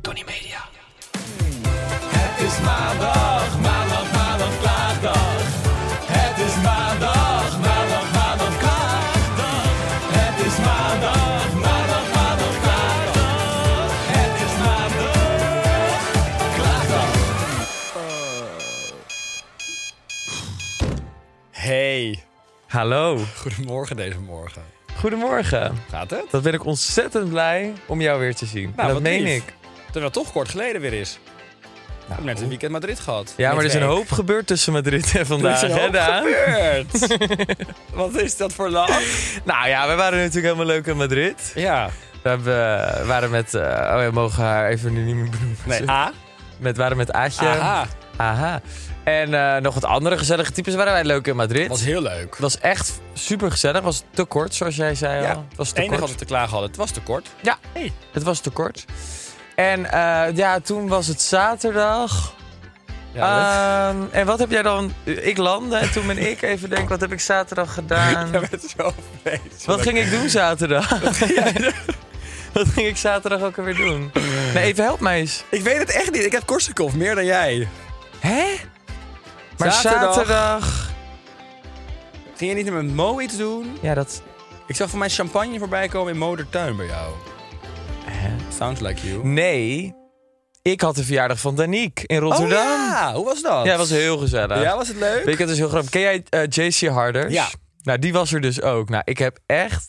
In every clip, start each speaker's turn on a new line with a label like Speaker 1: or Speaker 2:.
Speaker 1: Tony Media.
Speaker 2: Het is maandag, maandag, maandag, klaagdag. Het is maandag, maandag, maandag, klaagdag. Het is maandag, maandag, maandag, klaagdag. Het is maandag, klaagdag.
Speaker 1: Hey,
Speaker 3: Hallo,
Speaker 1: goedemorgen deze morgen.
Speaker 3: goedemorgen.
Speaker 1: Gaat het?
Speaker 3: Dat ben ik ontzettend blij om jou weer te zien.
Speaker 1: Nou,
Speaker 3: dat
Speaker 1: wat
Speaker 3: meen
Speaker 1: lief.
Speaker 3: ik.
Speaker 1: Terwijl het toch kort geleden weer is. Ik heb net een weekend Madrid gehad.
Speaker 3: Ja, maar er is een
Speaker 1: Midweek.
Speaker 3: hoop gebeurd tussen Madrid en
Speaker 1: Er
Speaker 3: vandaag.
Speaker 1: is een
Speaker 3: hè,
Speaker 1: hoop
Speaker 3: Daan?
Speaker 1: gebeurd. Wat is dat voor lach?
Speaker 3: Nou ja, we waren natuurlijk helemaal leuk in Madrid.
Speaker 1: Ja.
Speaker 3: We hebben, eh, waren met. eh, oh ja, we mogen haar even nu niet meer benoemen.
Speaker 1: Nee, A.
Speaker 3: Met, waren met Aatje.
Speaker 1: Aha.
Speaker 3: Aha. En eh, nog wat andere gezellige types waren wij leuk in Madrid.
Speaker 1: Was heel leuk.
Speaker 3: Het was echt super gezellig. Was te kort, zoals jij zei
Speaker 1: Ja,
Speaker 3: al. Het was
Speaker 1: Het
Speaker 3: te
Speaker 1: enige
Speaker 3: kort.
Speaker 1: wat we te klagen hadden, het was te kort.
Speaker 3: Ja,
Speaker 1: Hey.
Speaker 3: het was te kort. En eh, ja, toen was het zaterdag. Ehm, en wat heb jij dan? Ik landde en toen ben ik even denken, wat heb ik zaterdag gedaan?
Speaker 1: Ja, met zo vreselijk.
Speaker 3: wat ging ik doen zaterdag? wat ging ik zaterdag ook alweer doen? Nee, even help mij eens.
Speaker 1: Ik weet het echt niet. Ik heb Korsakoff, meer dan jij.
Speaker 3: Hè? Maar
Speaker 1: Zaterdag.
Speaker 3: zaterdag...
Speaker 1: Ging je niet met Mo iets doen?
Speaker 3: Ja, dat...
Speaker 1: Ik zag van mijn champagne voorbij komen in Moedertuin bij jou. Sounds like you.
Speaker 3: Nee, ik had de verjaardag van Danique in Rotterdam.
Speaker 1: Oh
Speaker 3: ja.
Speaker 1: ja, hoe was dat?
Speaker 3: dat was heel gezellig.
Speaker 1: Ja, was het leuk?
Speaker 3: Weet je, dat is heel grappig. Ken jij eh, JC Harders?
Speaker 1: Ja.
Speaker 3: Nou, die was er dus ook. Nou, ik heb echt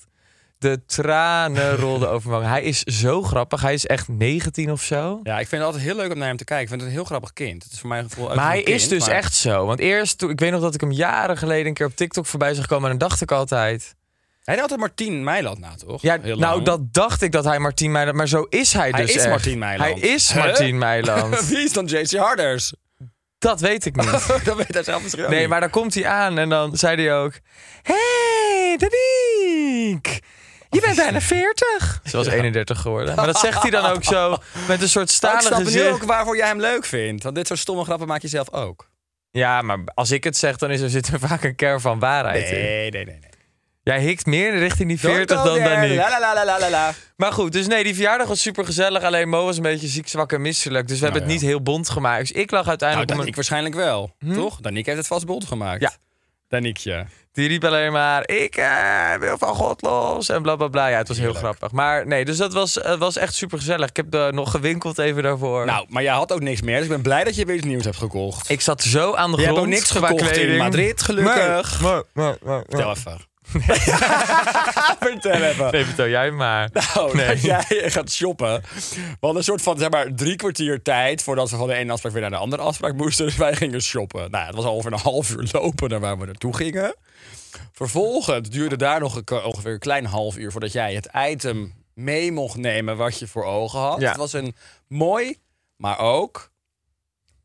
Speaker 3: de tranen rolden over me. Hij is zo grappig. Hij is echt 19 of zo.
Speaker 1: Ja, ik vind het altijd heel leuk om naar hem te kijken. Ik vind het een heel grappig kind. Het is voor mijn gevoel ook
Speaker 3: Maar
Speaker 1: een
Speaker 3: hij is
Speaker 1: kind,
Speaker 3: dus
Speaker 1: maar-
Speaker 3: echt zo. Want eerst, toen, ik weet nog dat ik hem jaren geleden een keer op TikTok voorbij zag komen. En dan dacht ik altijd.
Speaker 1: Hij deed altijd Martien Meiland na, toch?
Speaker 3: Ja,
Speaker 1: Heel
Speaker 3: nou,
Speaker 1: lang.
Speaker 3: dat dacht ik dat hij Martien Meiland. Maar zo is hij
Speaker 1: Hij
Speaker 3: dus.
Speaker 1: is
Speaker 3: echt.
Speaker 1: Martien Meiland.
Speaker 3: Hij is
Speaker 1: Huh?
Speaker 3: Martien Meiland.
Speaker 1: Wie is dan JC Harders?
Speaker 3: dat weet ik niet.
Speaker 1: dat weet hij zelf misschien ook
Speaker 3: Nee,
Speaker 1: niet.
Speaker 3: maar dan komt hij aan en dan zei hij ook... Hey, Danique! Je bent bijna 40. Ze was 31 geworden. Maar dat zegt hij dan ook zo met een soort
Speaker 1: Maar ik
Speaker 3: stalen
Speaker 1: snap nu
Speaker 3: gezicht.
Speaker 1: ook waarvoor jij hem leuk vindt. Want dit soort stomme grappen maak je zelf ook.
Speaker 3: Ja, maar als ik het zeg, dan is er, zit er vaak een kern van waarheid in.
Speaker 1: nee, nee. nee.
Speaker 3: Jij hikt meer richting die
Speaker 1: Don't
Speaker 3: 40
Speaker 1: go
Speaker 3: dan
Speaker 1: there. La
Speaker 3: Danique.
Speaker 1: la la la la la la. Nou,
Speaker 3: Maar goed, dus nee, die verjaardag was super gezellig. Alleen Mo was een beetje ziek, zwak en misselijk. Dus we
Speaker 1: Nou
Speaker 3: hebben het
Speaker 1: ja.
Speaker 3: niet heel bont gemaakt. Dus ik lag
Speaker 1: Nou,
Speaker 3: uiteindelijk... om
Speaker 1: Daniek
Speaker 3: een-
Speaker 1: waarschijnlijk wel, toch? Daniek heeft het vast bond gemaakt.
Speaker 3: Hm? Ja.
Speaker 1: Daniekje.
Speaker 3: Die riep alleen maar, ik eh, wil van God los en bla bla bla. Ja, het was heel
Speaker 1: Heerlijk.
Speaker 3: grappig. Maar nee, dus dat was, eh, was echt super gezellig. Ik heb er nog gewinkeld even daarvoor.
Speaker 1: Nou, maar jij had ook niks meer, dus ik ben blij dat je weer iets nieuws hebt gekocht.
Speaker 3: ik zat zo aan de
Speaker 1: Je
Speaker 3: grond.
Speaker 1: hebt ook niks
Speaker 3: qua
Speaker 1: gekocht in
Speaker 3: kleding.
Speaker 1: Madrid, gelukkig.
Speaker 3: Nee, nee, nee, nee, nee.
Speaker 1: Vertel even. Vertel even.
Speaker 3: Nee, vertel jij maar.
Speaker 1: Nou,
Speaker 3: Nee.
Speaker 1: dat jij gaat shoppen. We hadden een soort van zeg maar, drie kwartier tijd voordat we van de ene afspraak weer naar de andere afspraak moesten. Dus wij gingen shoppen. Nou, het was al over een half uur lopen naar waar we naartoe gingen. Vervolgens duurde daar nog een- ongeveer een klein half uur voordat jij het item mee mocht nemen wat je voor ogen had.
Speaker 3: Ja.
Speaker 1: Het was een mooi, maar ook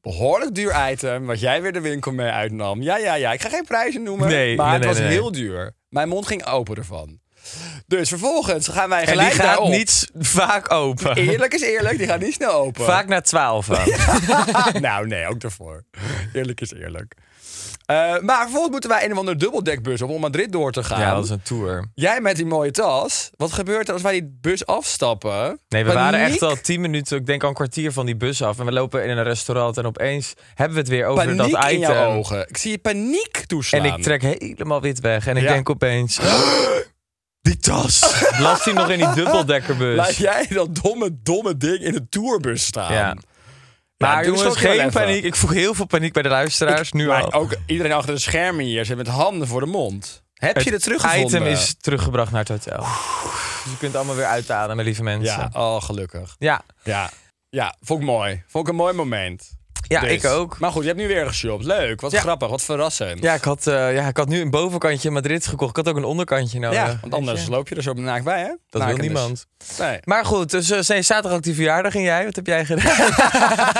Speaker 1: behoorlijk duur item wat jij weer de winkel mee uitnam. Ja, ja, ja. Ik ga geen prijzen noemen,
Speaker 3: Nee,
Speaker 1: maar
Speaker 3: nee,
Speaker 1: het
Speaker 3: nee,
Speaker 1: was
Speaker 3: nee.
Speaker 1: heel duur. Mijn mond ging open ervan. Dus vervolgens gaan wij
Speaker 3: En
Speaker 1: gelijk
Speaker 3: die gaat
Speaker 1: daarop.
Speaker 3: niet s- vaak open.
Speaker 1: Eerlijk is eerlijk, die gaat niet snel open.
Speaker 3: Vaak na 12.
Speaker 1: nou, nee, ook daarvoor. Eerlijk is eerlijk. Eh, maar vervolgens moeten wij een of andere dubbeldekbus op om Madrid door te gaan.
Speaker 3: Ja, dat is een tour.
Speaker 1: Jij met die mooie tas. Wat gebeurt er als wij die bus afstappen?
Speaker 3: Nee, we waren
Speaker 1: Paniek.
Speaker 3: echt al 10 minuten, ik denk al een kwartier van die bus af. En we lopen in een restaurant en opeens hebben we het weer over
Speaker 1: Paniek
Speaker 3: dat item.
Speaker 1: in jouw ogen. Ik zie je paniek toeslaan.
Speaker 3: En ik trek helemaal wit weg. En ik
Speaker 1: Ja.
Speaker 3: denk opeens... Die tas! Las hij nog in die
Speaker 1: Laat
Speaker 3: dubbeldekkerbus.
Speaker 1: jij dat domme, domme ding in de tourbus staan.
Speaker 3: Ja.
Speaker 1: doe
Speaker 3: Maar
Speaker 1: eens
Speaker 3: jongens,
Speaker 1: ook heel
Speaker 3: geen
Speaker 1: even.
Speaker 3: paniek. Ik voeg heel veel paniek bij de luisteraars nu
Speaker 1: Maar
Speaker 3: al.
Speaker 1: ook iedereen achter de schermen hier zit met handen voor de mond. Heb je het
Speaker 3: Het
Speaker 1: teruggevonden?
Speaker 3: item is teruggebracht naar het hotel. Dus je kunt allemaal weer uitademen, lieve mensen.
Speaker 1: Ja,
Speaker 3: Ja,
Speaker 1: oh, gelukkig.
Speaker 3: ja.
Speaker 1: Ja. ja, vond ik mooi. Vond ik een mooi moment. Dus.
Speaker 3: ik ook.
Speaker 1: Maar goed, je hebt nu weer geshopt. Leuk, wat
Speaker 3: Ja.
Speaker 1: grappig, wat verrassend.
Speaker 3: Ja ik, had, eh, ja, ik had nu een bovenkantje in Madrid gekocht. Ik had ook een onderkantje nodig.
Speaker 1: Ja, want anders loop je er zo naakt bij, hè?
Speaker 3: Dat wil
Speaker 1: Naakt dus.
Speaker 3: niemand.
Speaker 1: Nee.
Speaker 3: Maar goed, dus eh, nee, zaterdag ook die verjaardag en jij. Wat heb jij gedaan?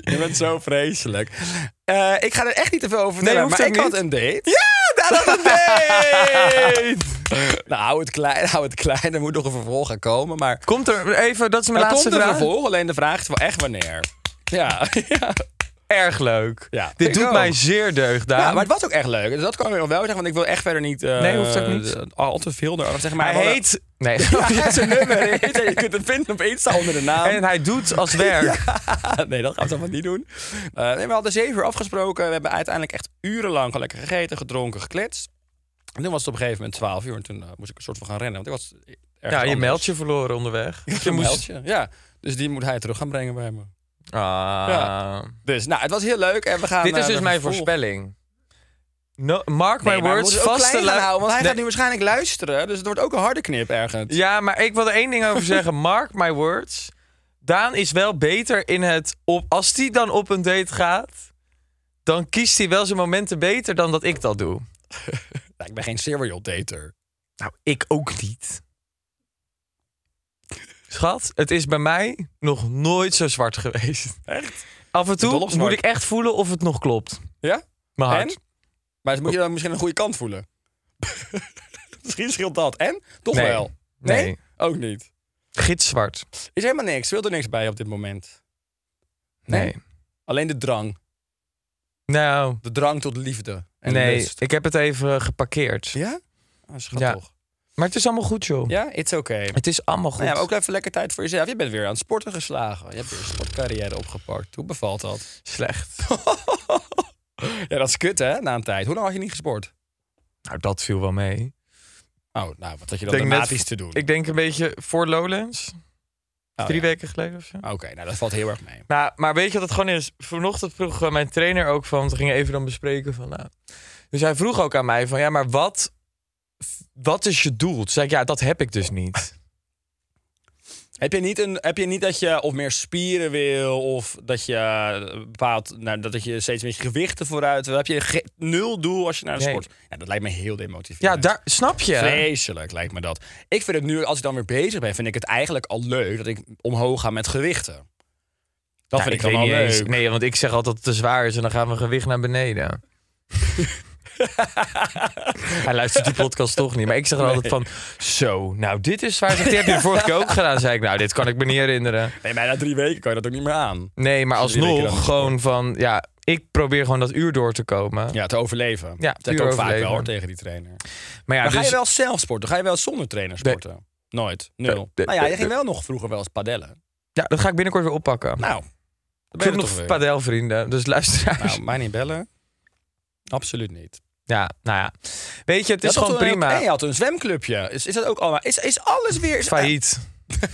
Speaker 1: Je bent zo vreselijk. Eh, ik ga er echt niet te veel over vertellen,
Speaker 3: hoeft
Speaker 1: maar ik
Speaker 3: ook
Speaker 1: had
Speaker 3: niet.
Speaker 1: een date. Ja, dat had een date! nou, hou het klein, hou het klein. Er moet nog een vervolg gaan komen, maar...
Speaker 3: Komt er even, dat is mijn
Speaker 1: Er
Speaker 3: laatste
Speaker 1: komt een
Speaker 3: vraag.
Speaker 1: vervolg, alleen de vraag is wel echt wanneer. Ja, ja.
Speaker 3: erg leuk.
Speaker 1: Ja,
Speaker 3: Dit
Speaker 1: ik
Speaker 3: doet
Speaker 1: ook.
Speaker 3: mij zeer deugd, Daan.
Speaker 1: Ja, maar het was ook echt leuk. Dus dat kan ik nog wel zeggen, want ik wil echt verder niet... eh,
Speaker 3: Eh, Nee, hoeft ook niet.
Speaker 1: eh, al te veel erover zeggen. Maar
Speaker 3: hij
Speaker 1: we hadden-
Speaker 3: heet... Nee,
Speaker 1: Ja, hij heeft zijn nummer. Je kunt het vinden op Insta onder de naam.
Speaker 3: En hij doet als werk.
Speaker 1: nee, dat gaan we van niet doen. Eh, nee, we hadden zeven uur afgesproken. We hebben uiteindelijk echt urenlang gewoon lekker gegeten, gedronken, gekletst. En toen was het op een gegeven moment 12 uur. En toen eh, moest ik een soort van gaan rennen. Want ik was ergens
Speaker 3: Ja, je
Speaker 1: anders.
Speaker 3: meldje verloren onderweg.
Speaker 1: Je meldje. Ja, dus die moet hij terug gaan brengen bij me.
Speaker 3: Ah.
Speaker 1: Ja. Dus nou, het was heel leuk. En we gaan,
Speaker 3: Dit is
Speaker 1: eh,
Speaker 3: dus
Speaker 1: de
Speaker 3: mijn
Speaker 1: vervolg-
Speaker 3: voorspelling. No, mark my
Speaker 1: Nee, maar we
Speaker 3: words,
Speaker 1: moeten het ook
Speaker 3: vaste
Speaker 1: klein gaan
Speaker 3: lu-
Speaker 1: houden, want hij
Speaker 3: Nee.
Speaker 1: gaat nu waarschijnlijk luisteren. Dus het wordt ook een harde knip ergens.
Speaker 3: Ja, maar ik wil er één ding over zeggen. Mark my words. Daan is wel beter in het op. Als die dan op een date gaat, dan kiest hij wel zijn momenten beter dan dat ik dat doe.
Speaker 1: Ja, ik ben geen serial dater.
Speaker 3: Nou, ik ook niet. Schat, het is bij mij nog nooit zo zwart geweest.
Speaker 1: Echt?
Speaker 3: Af en
Speaker 1: Dol
Speaker 3: toe
Speaker 1: op zwart.
Speaker 3: moet ik echt voelen of het nog klopt.
Speaker 1: Ja?
Speaker 3: Mijn hart.
Speaker 1: En? Maar dan moet je dan misschien een goede kant voelen. misschien scheelt dat. En? Toch
Speaker 3: Nee.
Speaker 1: wel.
Speaker 3: Nee.
Speaker 1: Ook niet.
Speaker 3: Gitzwart.
Speaker 1: Is helemaal niks. Speelt er niks bij op dit moment.
Speaker 3: Nee.
Speaker 1: Nee? Alleen de drang.
Speaker 3: Nou,
Speaker 1: De drang tot liefde. En
Speaker 3: nee.
Speaker 1: lust.
Speaker 3: Ik heb het even geparkeerd.
Speaker 1: Ja? Oh, schat
Speaker 3: Ja.
Speaker 1: toch.
Speaker 3: Maar het is allemaal goed, joh.
Speaker 1: Ja? It's okay.
Speaker 3: Het is allemaal goed.
Speaker 1: Nou ja, maar ook even lekker tijd voor jezelf. Je bent weer aan het sporten geslagen. Je hebt weer een sportcarrière opgepakt. Hoe bevalt dat?
Speaker 3: Slecht.
Speaker 1: Ja, dat is kut hè, na een tijd. Hoe lang had je niet gesport?
Speaker 3: Nou, dat viel wel mee.
Speaker 1: Oh, nou, wat had je dan
Speaker 3: Denk net-
Speaker 1: dramatisch te doen?
Speaker 3: Ik denk een beetje voor Lowlands.
Speaker 1: Oh,
Speaker 3: Drie
Speaker 1: ja.
Speaker 3: weken geleden of zo.
Speaker 1: Oké, nou dat valt heel erg mee.
Speaker 3: Nou, maar weet je wat het gewoon is? Vanochtend vroeg eh, mijn trainer ook van, want we gingen even dan bespreken van, nou. Dus hij vroeg ook aan mij van, ja, maar wat, wat is je doel? Toen zei ik, ja, dat heb ik dus niet.
Speaker 1: Heb je, niet een, heb je niet dat je of meer spieren wil of dat je eh, bepaalt nou, dat dat je steeds met je gewichten vooruit wil? Heb je ge- nul doel als je naar de
Speaker 3: Nee.
Speaker 1: sport? Ja, dat lijkt me heel demotiverend.
Speaker 3: Ja, daar, snap je?
Speaker 1: Vreselijk lijkt me dat. Ik vind het nu, als ik dan weer bezig ben, vind ik het eigenlijk al leuk dat ik omhoog ga met gewichten. Dat
Speaker 3: Ja,
Speaker 1: vind ik,
Speaker 3: Nou, weet
Speaker 1: dan al
Speaker 3: niet
Speaker 1: leuk.
Speaker 3: eens. Nee, want ik zeg altijd dat het te zwaar is en dan gaan we gewicht naar beneden. hij luistert die podcast toch niet. Maar ik zeg dan altijd van, zo, nou, dit is zwaar. Zegt hij, heb je de vorige keer ook gedaan? Zei ik, nou, dit kan ik me niet herinneren.
Speaker 1: Nee, maar na drie weken kan je dat ook niet meer aan.
Speaker 3: Nee, maar
Speaker 1: Dus die rekenen dan
Speaker 3: alsnog gewoon van, ja, ik probeer gewoon dat uur door te komen.
Speaker 1: Ja, te overleven.
Speaker 3: Ja,
Speaker 1: dat heb ik
Speaker 3: puur
Speaker 1: ook vaak wel
Speaker 3: overleven.
Speaker 1: hoor, tegen die trainer.
Speaker 3: Maar ja,
Speaker 1: maar
Speaker 3: dus,
Speaker 1: ga je wel zelf sporten? Ga je wel zonder trainer
Speaker 3: Nee.
Speaker 1: sporten? Nooit. Nul.
Speaker 3: Nee, nee,
Speaker 1: nou ja, je
Speaker 3: nee,
Speaker 1: ging wel nog vroeger wel eens padellen.
Speaker 3: ja, dat ga ik binnenkort weer oppakken.
Speaker 1: Nou, dat
Speaker 3: ik
Speaker 1: ben
Speaker 3: heb
Speaker 1: je toch
Speaker 3: nog
Speaker 1: weer.
Speaker 3: padelvrienden, dus luisteraars.
Speaker 1: Nou, mij niet bellen. Absoluut niet.
Speaker 3: ja, nou ja. Weet je, het
Speaker 1: Je
Speaker 3: is
Speaker 1: had
Speaker 3: gewoon
Speaker 1: toch een-
Speaker 3: prima.
Speaker 1: en je had een zwemclubje. Is, is dat ook allemaal... Is, is alles weer... Is
Speaker 3: Failliet.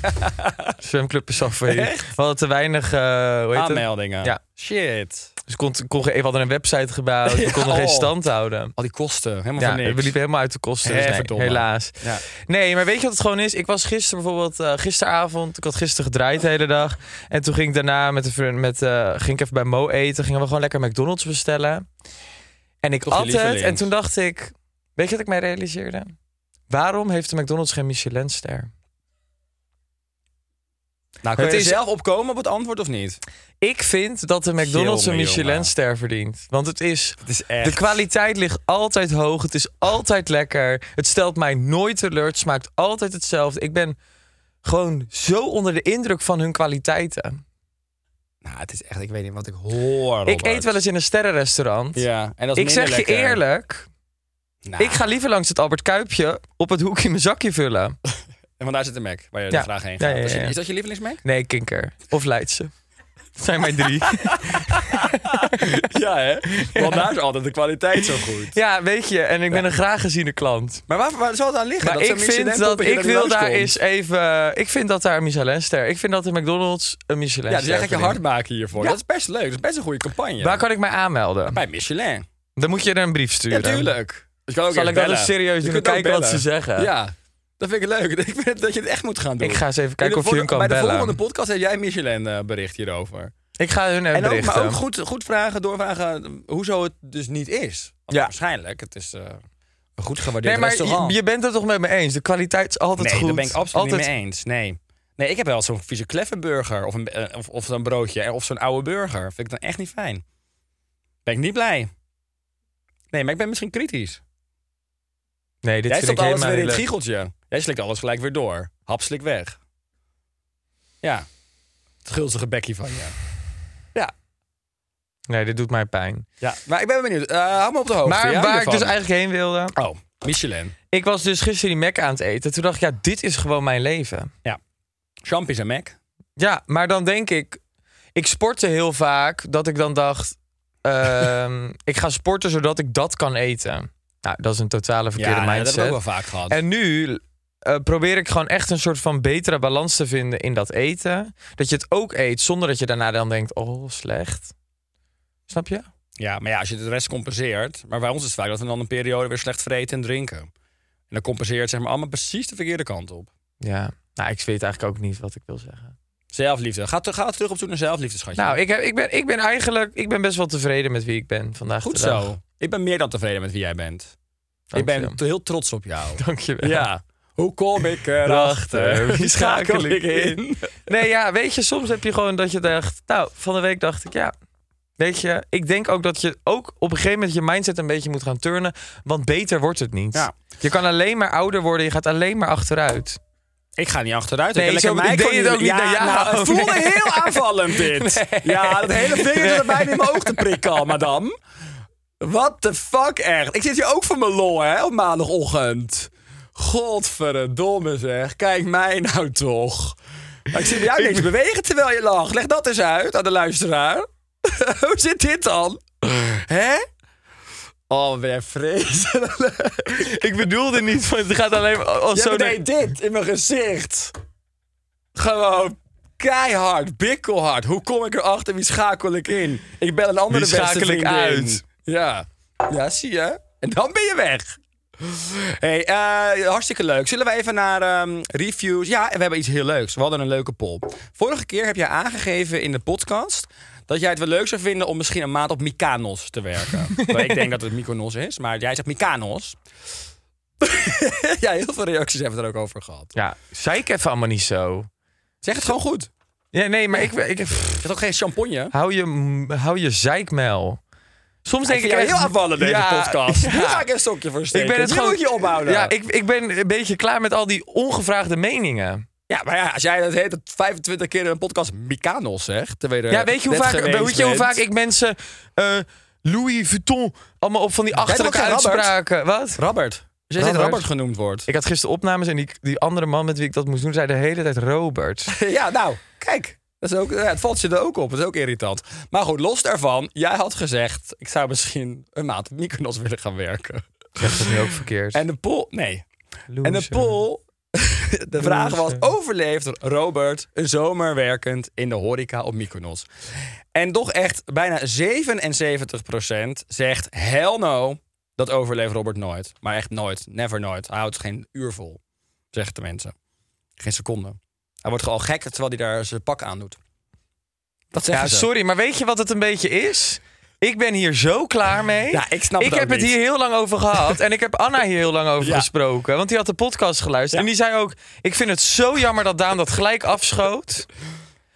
Speaker 3: Zwemclub is al failliet. We hadden te weinig, eh
Speaker 1: Ah,
Speaker 3: hoe heet het?
Speaker 1: aanmeldingen.
Speaker 3: Ja.
Speaker 1: Shit.
Speaker 3: Dus kon, kon, we hadden een website gebouwd, we konden
Speaker 1: Ja,
Speaker 3: geen
Speaker 1: oh.
Speaker 3: stand houden.
Speaker 1: Al die kosten. Helemaal
Speaker 3: Ja,
Speaker 1: voor
Speaker 3: we
Speaker 1: niks.
Speaker 3: liepen helemaal uit de kosten, dus
Speaker 1: Hè,
Speaker 3: nee,
Speaker 1: verdomme.
Speaker 3: helaas.
Speaker 1: Ja.
Speaker 3: Nee, maar weet je wat het gewoon is? Ik was gisteren bijvoorbeeld, eh, gisteravond, ik had gisteren gedraaid de hele dag. En toen ging ik daarna met een vriend, met, eh, ging ik even bij Mo eten, gingen we gewoon lekker McDonald's bestellen. En ik
Speaker 1: Toch je
Speaker 3: at het
Speaker 1: lievelings.
Speaker 3: en toen dacht ik, weet je wat ik mij realiseerde? Waarom heeft de McDonald's geen Michelinster?
Speaker 1: Nou, kun
Speaker 3: Het
Speaker 1: je
Speaker 3: is-
Speaker 1: zelf opkomen op het antwoord of niet?
Speaker 3: Ik vind dat de McDonald's een
Speaker 1: Jongen,
Speaker 3: Michelinster verdient. Want het is
Speaker 1: Het is
Speaker 3: De kwaliteit ligt altijd hoog. Het is altijd lekker. Het stelt mij nooit teleur. Het smaakt altijd hetzelfde. Ik ben gewoon zo onder de indruk van hun kwaliteiten.
Speaker 1: Nou, het is echt... Ik weet niet wat ik hoor, Robert.
Speaker 3: Ik eet wel eens in een sterrenrestaurant.
Speaker 1: Ja, en dat is
Speaker 3: ik zeg
Speaker 1: minder
Speaker 3: je
Speaker 1: lekker.
Speaker 3: eerlijk.
Speaker 1: Nou,
Speaker 3: Ik ga liever langs het Albert Kuipje op het hoekje mijn zakje vullen.
Speaker 1: En want daar zit de Mac, waar je
Speaker 3: Ja.
Speaker 1: er graag heen
Speaker 3: Ja,
Speaker 1: gaat.
Speaker 3: ja, ja,
Speaker 1: Is,
Speaker 3: ja.
Speaker 1: dat- is dat je lievelingsmac?
Speaker 3: Nee, kinker. Of Leidse. Dat zijn mijn drie.
Speaker 1: ja, hè? Want daar is altijd de kwaliteit zo goed.
Speaker 3: ja, weet je. En ik ben een graag geziene klant.
Speaker 1: Maar waar, waar zal het aan liggen?
Speaker 3: Maar
Speaker 1: dat
Speaker 3: ik vind dat ik wil daar eens
Speaker 1: is.
Speaker 3: even. Ik vind dat daar een Michelinster. Ik vind dat de McDonald's een Michelinster.
Speaker 1: Ja, dus jij gaat je
Speaker 3: verdient.
Speaker 1: hard maken hiervoor.
Speaker 3: Ja.
Speaker 1: Dat is best leuk. Dat is best een goede campagne.
Speaker 3: Waar kan ik mij aanmelden?
Speaker 1: Bij Michelin.
Speaker 3: Dan moet je er een brief sturen.
Speaker 1: Ja, tuurlijk. Dus kan ook
Speaker 3: Zal
Speaker 1: eerst
Speaker 3: ik dat
Speaker 1: bellen.
Speaker 3: eens serieus
Speaker 1: Je
Speaker 3: doen en
Speaker 1: kunt ook
Speaker 3: kijken wat ze
Speaker 1: bellen.
Speaker 3: zeggen?
Speaker 1: Ja, dat vind ik leuk. Ik vind dat je het echt moet gaan doen.
Speaker 3: Ik ga eens even
Speaker 1: In de
Speaker 3: kijken of je hun
Speaker 1: volgende-
Speaker 3: kan
Speaker 1: Bij de
Speaker 3: bellen.
Speaker 1: volgende podcast heb jij een Michelin eh, bericht hierover.
Speaker 3: Ik ga hun een
Speaker 1: En ook,
Speaker 3: berichten.
Speaker 1: maar ook goed, goed vragen, doorvragen hoezo het dus niet is. Want
Speaker 3: Ja.
Speaker 1: Waarschijnlijk. Het is eh, een goed gewaardeerd
Speaker 3: nee, maar je,
Speaker 1: restaurant.
Speaker 3: je bent het toch met me eens? De kwaliteit is altijd
Speaker 1: nee,
Speaker 3: goed.
Speaker 1: daar ben ik absoluut
Speaker 3: altijd...
Speaker 1: niet mee eens. Nee. Nee, ik heb wel zo'n vieze kleffenburger of, een, eh, of, of zo'n broodje eh, of zo'n oude burger. Vind ik dan echt niet fijn. Ben ik niet blij. Nee, maar ik ben misschien kritisch.
Speaker 3: Nee, dit
Speaker 1: Jij
Speaker 3: vind
Speaker 1: stopt
Speaker 3: ik
Speaker 1: alles
Speaker 3: helemaal
Speaker 1: weer in
Speaker 3: niet
Speaker 1: het
Speaker 3: leuk.
Speaker 1: giegeltje. Jij slikt alles gelijk weer door. Hap slik weg. Ja. Het gulzige bekje van je. Ja.
Speaker 3: Nee, dit doet mij pijn.
Speaker 1: Ja, maar ik ben benieuwd. Eh, hou me op de hoogte.
Speaker 3: Maar
Speaker 1: ja,
Speaker 3: waar ik
Speaker 1: hiervan.
Speaker 3: dus eigenlijk heen wilde.
Speaker 1: Oh, Michelin.
Speaker 3: Ik was dus gisteren die Mac aan het eten. Toen dacht ik, ja, dit is gewoon mijn leven.
Speaker 1: Champies en Mac.
Speaker 3: Ja, maar dan denk ik... Ik sportte heel vaak dat ik dan dacht... ehm, ik ga sporten zodat ik dat kan eten. Nou, dat is een totale verkeerde
Speaker 1: ja, dat
Speaker 3: mindset.
Speaker 1: heb ik ook wel vaak gehad.
Speaker 3: En nu eh, probeer ik gewoon echt een soort van betere balans te vinden in dat eten. Dat je het ook eet zonder dat je daarna dan denkt, oh, slecht. Snap je?
Speaker 1: Ja, maar ja, als je de rest compenseert. Maar bij ons is het vaak dat we dan een periode weer slecht vreten en drinken. En dan compenseert het zeg maar allemaal precies de verkeerde kant op.
Speaker 3: Ja. Nou, ik weet eigenlijk ook niet wat ik wil zeggen.
Speaker 1: Zelfliefde. Ga, te- ga terug op zoek naar zelfliefde, schatje.
Speaker 3: Nou, ik, heb, ik, ben, ik ben eigenlijk ik ben best wel tevreden met wie ik ben vandaag.
Speaker 1: Goed
Speaker 3: de dag.
Speaker 1: zo. Ik ben meer dan tevreden met wie jij bent.
Speaker 3: Dank
Speaker 1: ik
Speaker 3: je.
Speaker 1: ben t- heel trots op jou.
Speaker 3: Dank je wel.
Speaker 1: Ja. Hoe kom ik erachter?
Speaker 3: Erachter.
Speaker 1: Wie schakel ik in?
Speaker 3: Nee, ja, weet je, soms heb je gewoon dat je dacht... Nou, van de week dacht ik, ja... Weet je, ik denk ook dat je ook op een gegeven moment je mindset een beetje moet gaan turnen. Want beter wordt het niet.
Speaker 1: Ja.
Speaker 3: Je kan alleen maar ouder worden, je gaat alleen maar achteruit.
Speaker 1: Ik ga niet achteruit.
Speaker 3: Nee,
Speaker 1: ik heb
Speaker 3: zo-
Speaker 1: lekker
Speaker 3: ik
Speaker 1: mij
Speaker 3: deed
Speaker 1: gewoon
Speaker 3: het ook niet naar jou.
Speaker 1: nou, het voelde
Speaker 3: Nee.
Speaker 1: heel aanvallend dit. Ja, dat hele vinger zat er bijna in mijn oog te prikken al, madame. What the fuck echt. Ik zit hier ook voor mijn lol, hè, op maandagochtend. Godverdomme zeg. Kijk mij nou toch. Maar ik zie bij jou niks bewegen terwijl je lacht. Leg dat eens uit aan de luisteraar. Hoe zit dit dan? Hè? Oh, wat ben jij vreselijk.
Speaker 3: Ik bedoelde niet, van, het gaat alleen maar als
Speaker 1: Jij
Speaker 3: zo...
Speaker 1: deed dit in mijn gezicht. Gewoon keihard, bikkelhard. Hoe kom ik erachter? Wie schakel ik in? Ik bel een andere beste
Speaker 3: Wie schakel ik
Speaker 1: vriendin.
Speaker 3: uit?
Speaker 1: Ja. ja, zie je? En dan ben je weg. hey, eh, hartstikke leuk. Zullen we even naar ehm, reviews? Ja, en we hebben iets heel leuks. We hadden een leuke poll. Vorige keer heb jij aangegeven in de podcast... dat jij het wel leuk zou vinden om misschien een maand op Mykonos te werken. ik denk dat het Mykonos is, maar jij zegt Mykonos. ja, heel veel reacties hebben we er ook over gehad.
Speaker 3: Ja, zei ik even allemaal niet zo.
Speaker 1: Zeg het gewoon goed.
Speaker 3: Ja, nee, maar ik... ik
Speaker 1: Je hebt ook geen champagne.
Speaker 3: hou, je, hou je zeikmel. Soms denk
Speaker 1: Ik
Speaker 3: ik...
Speaker 1: vind jou
Speaker 3: echt-
Speaker 1: heel afvallen deze
Speaker 3: Ja,
Speaker 1: podcast.
Speaker 3: ja.
Speaker 1: Hier ga ik een stokje voor steken.
Speaker 3: Ik ben het
Speaker 1: Nu
Speaker 3: gewoon...
Speaker 1: moet je ophouden.
Speaker 3: Ja, ik, ik ben een beetje klaar met al die ongevraagde meningen.
Speaker 1: Ja, maar ja, als jij dat heet, dat 25 keer in een podcast Mykonos zegt. terwijl er
Speaker 3: Ja, weet je hoe
Speaker 1: Eh, net
Speaker 3: vaak,
Speaker 1: geweest
Speaker 3: weet je hoe
Speaker 1: bent.
Speaker 3: vaak ik mensen eh, Louis Vuitton allemaal op van die
Speaker 1: bent
Speaker 3: achterlijke
Speaker 1: ook geen Robert.
Speaker 3: uitspraken... Wat?
Speaker 1: Robert. Dus jij zegt
Speaker 3: Robert.
Speaker 1: Robert genoemd wordt.
Speaker 3: Ik had gisteren opnames en die, die andere man met wie ik dat moest doen zei de hele tijd Robert.
Speaker 1: Ja, nou, kijk. Dat is ook, ja, het valt je er ook op. Dat is ook irritant. Maar goed, los daarvan. Jij had gezegd, ik zou misschien een maand op Mykonos willen gaan werken.
Speaker 3: Zegt dat nu ook verkeerd.
Speaker 1: En de poll... Nee. En de poll...
Speaker 3: eh,
Speaker 1: De vraag was, overleeft Robert een zomer werkend in de horeca op Mykonos? En toch echt bijna 77% zegt, hell no, dat overleeft Robert nooit. Maar echt nooit, never nooit. Hij houdt geen uur vol, zeggen de mensen. Geen seconde. Hij wordt gewoon gek terwijl hij daar zijn pak aan doet. Dat zeggen
Speaker 3: Ja,
Speaker 1: ze.
Speaker 3: sorry, maar weet je wat het een beetje is? Ik ben hier zo klaar mee.
Speaker 1: Ja, ik snap
Speaker 3: ik
Speaker 1: het ook
Speaker 3: heb het
Speaker 1: niet.
Speaker 3: hier heel lang over gehad. En ik heb Anna hier heel lang over
Speaker 1: Ja.
Speaker 3: gesproken. Want die had de podcast geluisterd.
Speaker 1: Ja.
Speaker 3: En die zei ook: Ik vind het zo jammer dat Daan dat gelijk afschoot.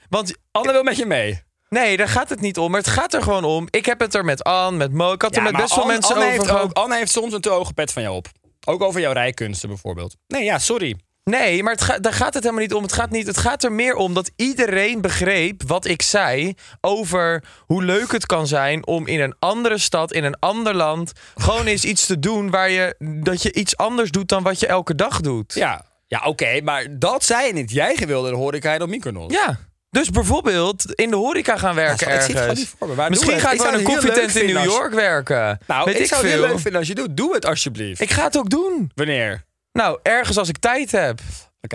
Speaker 3: Want
Speaker 1: Anne wil met je mee.
Speaker 3: nee, daar gaat het niet om. Maar het gaat er gewoon om. Ik heb het er met Anne, met Mo. Ik had er met
Speaker 1: maar
Speaker 3: best wel
Speaker 1: Anne-
Speaker 3: mensen
Speaker 1: Anne
Speaker 3: over
Speaker 1: heeft
Speaker 3: gehad.
Speaker 1: ook- Anne heeft soms een te hoge pet van jou op. Ook over jouw rijkunsten bijvoorbeeld. Nee, ja, sorry.
Speaker 3: Nee, maar het ga- daar gaat het helemaal niet om. Het gaat, niet, het gaat er meer om dat iedereen begreep wat ik zei over hoe leuk het kan zijn om in een andere stad, in een ander land, gewoon eens iets te doen waar je, dat je iets anders doet dan wat je elke dag doet.
Speaker 1: Ja, ja oké, maar dat zei je niet. Jij wilde de horeca in op Mykonos.
Speaker 3: Ja. Dus bijvoorbeeld in de horeca gaan
Speaker 1: ik zie
Speaker 3: werken
Speaker 1: het
Speaker 3: ergens.
Speaker 1: gewoon niet voor me. Waar doen
Speaker 3: Misschien
Speaker 1: we
Speaker 3: ga
Speaker 1: het?
Speaker 3: ik
Speaker 1: Ik
Speaker 3: wel
Speaker 1: zou
Speaker 3: in een
Speaker 1: het heel
Speaker 3: koffietent
Speaker 1: leuk
Speaker 3: in New
Speaker 1: vinden als-
Speaker 3: York werken.
Speaker 1: Nou,
Speaker 3: Weet
Speaker 1: ik, zou het
Speaker 3: veel.
Speaker 1: heel leuk vinden als je doet. Doe het alsjeblieft.
Speaker 3: Ik ga het ook doen.
Speaker 1: Wanneer? Oké,
Speaker 3: Nou, ergens als ik tijd heb.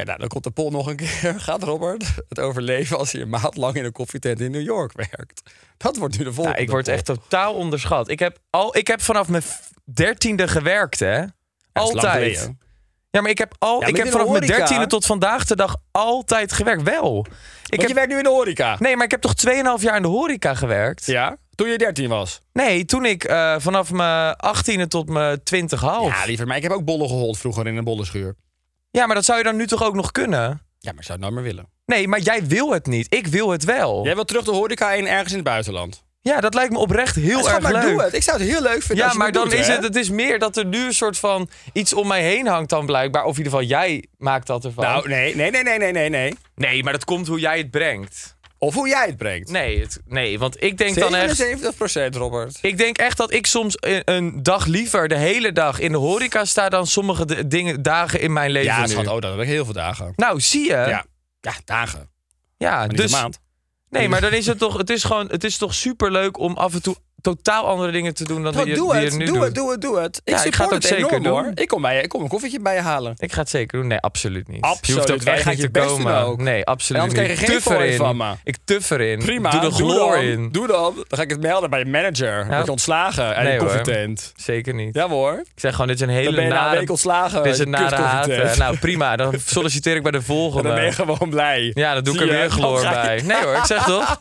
Speaker 1: nou, dan komt de poll nog een keer. Gaat Robert het overleven als hij een maand lang in een koffietent in New York werkt? Dat wordt nu de volgende
Speaker 3: Nou, ik word
Speaker 1: poll.
Speaker 3: echt totaal onderschat. Ik heb, al, ik heb vanaf mijn v- dertiende gewerkt, hè?
Speaker 1: Ja, dat is lang
Speaker 3: altijd.
Speaker 1: geleden.
Speaker 3: Ja, maar ik heb, al,
Speaker 1: maar
Speaker 3: ik
Speaker 1: dit
Speaker 3: heb
Speaker 1: in de
Speaker 3: vanaf mijn
Speaker 1: horeca.
Speaker 3: dertiende tot vandaag de dag altijd gewerkt. Wel. Ik
Speaker 1: Want
Speaker 3: heb,
Speaker 1: je werkt nu in de horeca.
Speaker 3: Nee, maar ik heb toch 2,5 jaar in de horeca gewerkt?
Speaker 1: Ja, toen je 13 was.
Speaker 3: Nee, toen ik eh, vanaf mijn achttiende tot mijn twintig half.
Speaker 1: Ja,
Speaker 3: Ja,
Speaker 1: liever. Maar ik heb ook bollen gehold vroeger in een bollenschuur.
Speaker 3: maar dat zou je dan nu toch ook nog kunnen?
Speaker 1: Ja, maar ik zou het nooit meer willen.
Speaker 3: Nee, maar jij wil het niet. Ik wil het wel.
Speaker 1: Jij wilt terug de horeca in ergens in het buitenland.
Speaker 3: Ja, dat lijkt me oprecht heel
Speaker 1: Schat,
Speaker 3: erg
Speaker 1: maar
Speaker 3: leuk.
Speaker 1: doe het. Ik zou het heel leuk vinden
Speaker 3: Ja,
Speaker 1: als je
Speaker 3: maar
Speaker 1: het
Speaker 3: dan
Speaker 1: doet,
Speaker 3: is
Speaker 1: hè?
Speaker 3: het, het is meer dat er nu een soort van iets om mij heen hangt dan blijkbaar. Of in ieder geval jij maakt dat ervan.
Speaker 1: Nou, nee, nee, nee, nee, nee, nee, nee.
Speaker 3: nee, maar dat komt hoe jij het brengt.
Speaker 1: Of hoe jij het brengt.
Speaker 3: Nee, het- nee, want ik denk dan echt...
Speaker 1: 77 Robert.
Speaker 3: Ik denk echt dat ik soms een, een dag liever de hele dag in de horeca sta... dan sommige de- dingen, dagen in mijn leven
Speaker 1: Ja,
Speaker 3: nu.
Speaker 1: schat, oh, dat heb ik heel veel dagen.
Speaker 3: Nou, zie je?
Speaker 1: ja. ja, dagen.
Speaker 3: Ja,
Speaker 1: Dus,
Speaker 3: dus...
Speaker 1: een maand.
Speaker 3: Nee, maar dan is het toch... Het is, gewoon, het is toch superleuk om af en toe totaal andere dingen te doen dan die, je-
Speaker 1: doe
Speaker 3: die
Speaker 1: het,
Speaker 3: je nu
Speaker 1: doe
Speaker 3: doet.
Speaker 1: het, doe het, doe het. Ik
Speaker 3: Ja, ik ga
Speaker 1: support
Speaker 3: het
Speaker 1: het,
Speaker 3: ook zeker
Speaker 1: enorm
Speaker 3: doen.
Speaker 1: hoor. Ik kom, bij, je- ik kom een koffietje bij je halen.
Speaker 3: Ik ga het zeker doen. Nee, absoluut niet. je
Speaker 1: Absoluut.
Speaker 3: hoeft ook
Speaker 1: Wij
Speaker 3: echt
Speaker 1: gaan
Speaker 3: niet
Speaker 1: je
Speaker 3: te
Speaker 1: best
Speaker 3: komen.
Speaker 1: doen ook.
Speaker 3: Nee, absoluut
Speaker 1: Anders
Speaker 3: niet.
Speaker 1: krijg je geen
Speaker 3: Ik tuf
Speaker 1: fooi
Speaker 3: erin.
Speaker 1: van me.
Speaker 3: Ik tuf erin.
Speaker 1: Prima,
Speaker 3: Doe de gloor
Speaker 1: dan,
Speaker 3: in.
Speaker 1: Doe dan. Dan ga ik het melden bij de manager. Word je ontslagen en
Speaker 3: Nee,
Speaker 1: een
Speaker 3: hoor.
Speaker 1: koffietent.
Speaker 3: Zeker niet.
Speaker 1: Ja hoor.
Speaker 3: Ik zeg gewoon, dit is een
Speaker 1: Dan
Speaker 3: hele
Speaker 1: ben je na een
Speaker 3: nare...
Speaker 1: week ontslagen.
Speaker 3: dit is een nare haat.
Speaker 1: kutkoffietent.
Speaker 3: Eh, Nou, prima. Dan solliciteer ik bij de
Speaker 1: En dan ben je
Speaker 3: volgende.
Speaker 1: gewoon blij.
Speaker 3: Ja, dan doe ik er
Speaker 1: Zie je,
Speaker 3: weer
Speaker 1: dan
Speaker 3: gloor
Speaker 1: ga je-
Speaker 3: bij. Nee hoor, ik zeg toch?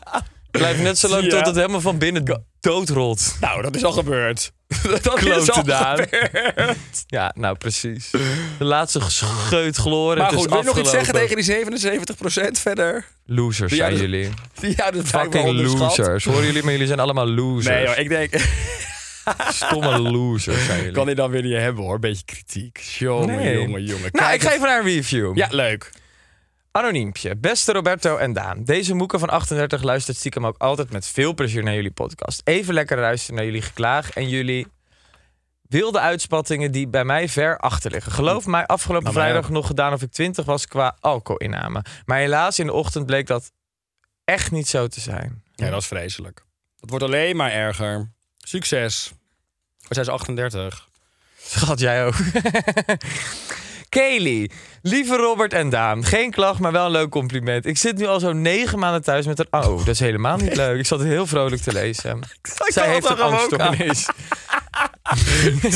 Speaker 3: Blijf net zo lang
Speaker 1: Zie je?
Speaker 3: tot het helemaal van binnen doodrolt.
Speaker 1: Nou, dat is al gebeurd. dat is
Speaker 3: Klote
Speaker 1: al
Speaker 3: Daan.
Speaker 1: gebeurd.
Speaker 3: Ja, nou precies. De laatste gescheut gloor.
Speaker 1: Maar
Speaker 3: het is
Speaker 1: goed, wil je nog iets zeggen
Speaker 3: afgelopen.
Speaker 1: tegen die 77 verder?
Speaker 3: Losers zijn
Speaker 1: Ja, dus-
Speaker 3: jullie.
Speaker 1: Die houden het
Speaker 3: Fucking
Speaker 1: blijkbaar onderschat.
Speaker 3: losers. Horen jullie, maar jullie zijn allemaal losers.
Speaker 1: Nee joh, ik denk...
Speaker 3: Stomme losers zijn jullie.
Speaker 1: kan hij dan weer niet hebben hoor. Beetje kritiek. Jongen,
Speaker 3: Nee.
Speaker 1: jongen, jongen.
Speaker 3: Nou,
Speaker 1: Kijk
Speaker 3: ik ga
Speaker 1: het-
Speaker 3: even naar een review.
Speaker 1: Ja, leuk.
Speaker 3: Anoniempje. Beste Roberto en Daan. Deze moeke van 38 luistert stiekem ook altijd met veel plezier naar jullie podcast. Even lekker luisteren naar jullie geklaag en jullie wilde uitspattingen die bij mij ver achter liggen. Geloof mij, afgelopen
Speaker 1: Nou, maar-
Speaker 3: vrijdag nog gedaan of ik 20 was qua alcoholinname. Maar helaas in de ochtend bleek dat echt niet zo te zijn.
Speaker 1: Ja, dat is vreselijk. Het wordt alleen maar erger. Succes. We zijn 38.
Speaker 3: Schat, jij ook. Kelly, lieve Robert en Daan. Geen klacht, maar wel een leuk compliment. Ik zit nu al zo'n negen maanden thuis met een... Oh, dat is helemaal niet leuk. Ik zat het heel vrolijk te lezen. Zij heeft een angststoornis.
Speaker 1: Het